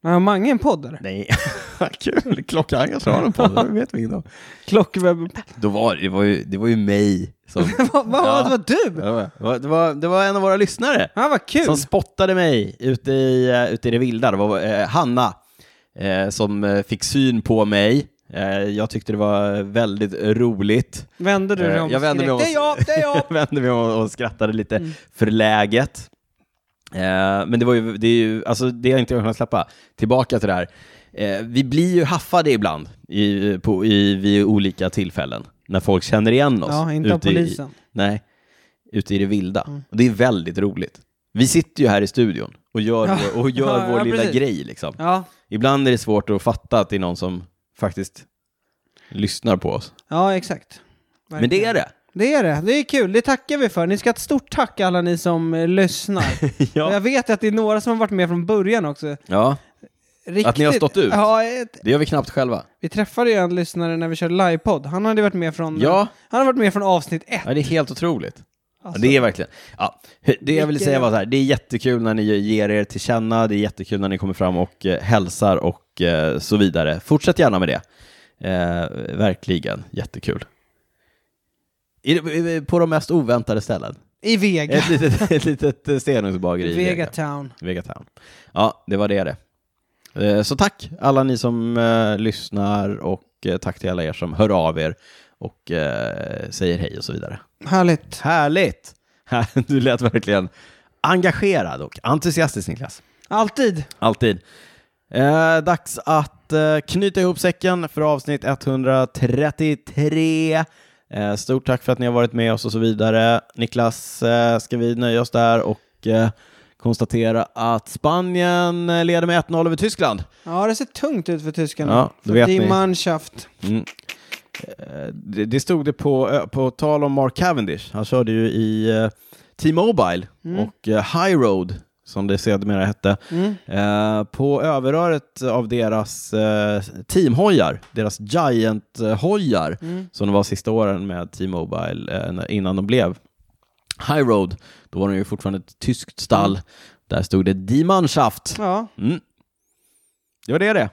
Ja, Mange är en poddare.
Nej, kul. Klockan kanske har en podd, det vet vi inte om.
Klockwebben.
Då var, det, var ju, det var ju mig som...
Vad va,
Ja.
det var du? Ja,
det, var, det, var, det var en av våra lyssnare
vad kul.
som spottade mig ute i, eh, ute i det vilda. Det var eh, Hanna eh, som eh, fick syn på mig. Eh, jag tyckte det var väldigt roligt.
Vände du dig
Eh,
om
jag vände mig
skrek,
om.
Det är jag, det är jag.
Jag vände mig om och skrattade lite
Mm.
förläget. Eh, men det var ju, det är ju, alltså det har jag inte kunnat släppa. Tillbaka till det här. Eh, vi blir ju haffade ibland i, på, i, vid olika tillfällen när folk känner igen oss.
Ja, inte av
ute i-
polisen. Mm.
Nej, ute i det vilda. Och det är väldigt roligt. Vi sitter ju här i studion och gör,
Ja.
vår, och gör
Ja,
vår
ja,
lilla
precis.
grej liksom.
Ja.
Ibland är det svårt att fatta att det är någon som faktiskt lyssnar på oss.
ja, exakt.
Men det är det.
Det är det. Det är kul. Det tackar vi för. Ni ska ha ett stort tack alla ni som eh, lyssnar. Och Jag vet att det är några som har varit med från början också.
ja,
Riktigt.
Att ni har stått ut.
Ja, ett,
det gör vi knappt själva.
vi träffade ju en lyssnare när vi körde livepodd. Han hade varit med från,
Ja.
han hade varit med från avsnitt ett.
Ja, det är helt otroligt.
Alltså.
Ja, det är verkligen. Ja, det jag vill
Vilken
säga var så här, det är jättekul när ni ger er till känna, det är jättekul när ni kommer fram och eh, hälsar och eh, så vidare. Fortsätt gärna med det. Eh, verkligen, jättekul. I- i- På de mest oväntade ställen.
I Vega.
Ett litet, ett litet eh, stenugnsbageri i Vega.
Vegatown.
Vegatown. Ja, det var det det. Eh, Så tack alla ni som eh, lyssnar och eh, tack till alla er som hör av er och eh, säger hej och så vidare.
Härligt.
Härligt! Du lät verkligen engagerad och entusiastisk Niklas.
Alltid.
Alltid. Eh, dags att eh, knyta ihop säcken för avsnitt 133. Eh, stort tack för att ni har varit med oss och så vidare. Niklas, eh, ska vi nöja oss där och eh, konstatera att Spanien eh, leder med 1-0 över Tyskland.
Ja, det ser tungt ut för tyskarna.
Ja, det
för
vet
Die
ni.
Mannschaft.
Mm. Eh, Det, det stod det på, eh, på tal om Mark Cavendish. Han körde ju i eh, T-Mobile och eh, High Road, som det sedermera hette.
Mm.
Eh, på överröret av deras eh, teamhojar, deras Giant-hojar,
Mm.
som de var sista åren med T-Mobile eh, när- innan de blev High Road, då var de ju fortfarande ett tyskt stall.
Mm.
Där stod det Die Mannschaft.
Ja,
Mm. Det var det det.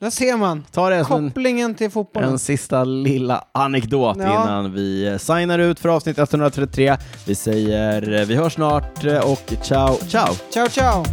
där ser man.
Ta det som en
Kopplingen till fotbollen.
en sista lilla anekdot
Ja.
innan vi eh, signar ut för avsnitt 133. Vi säger eh, vi hörs snart eh, och ciao, ciao!
Ciao, ciao!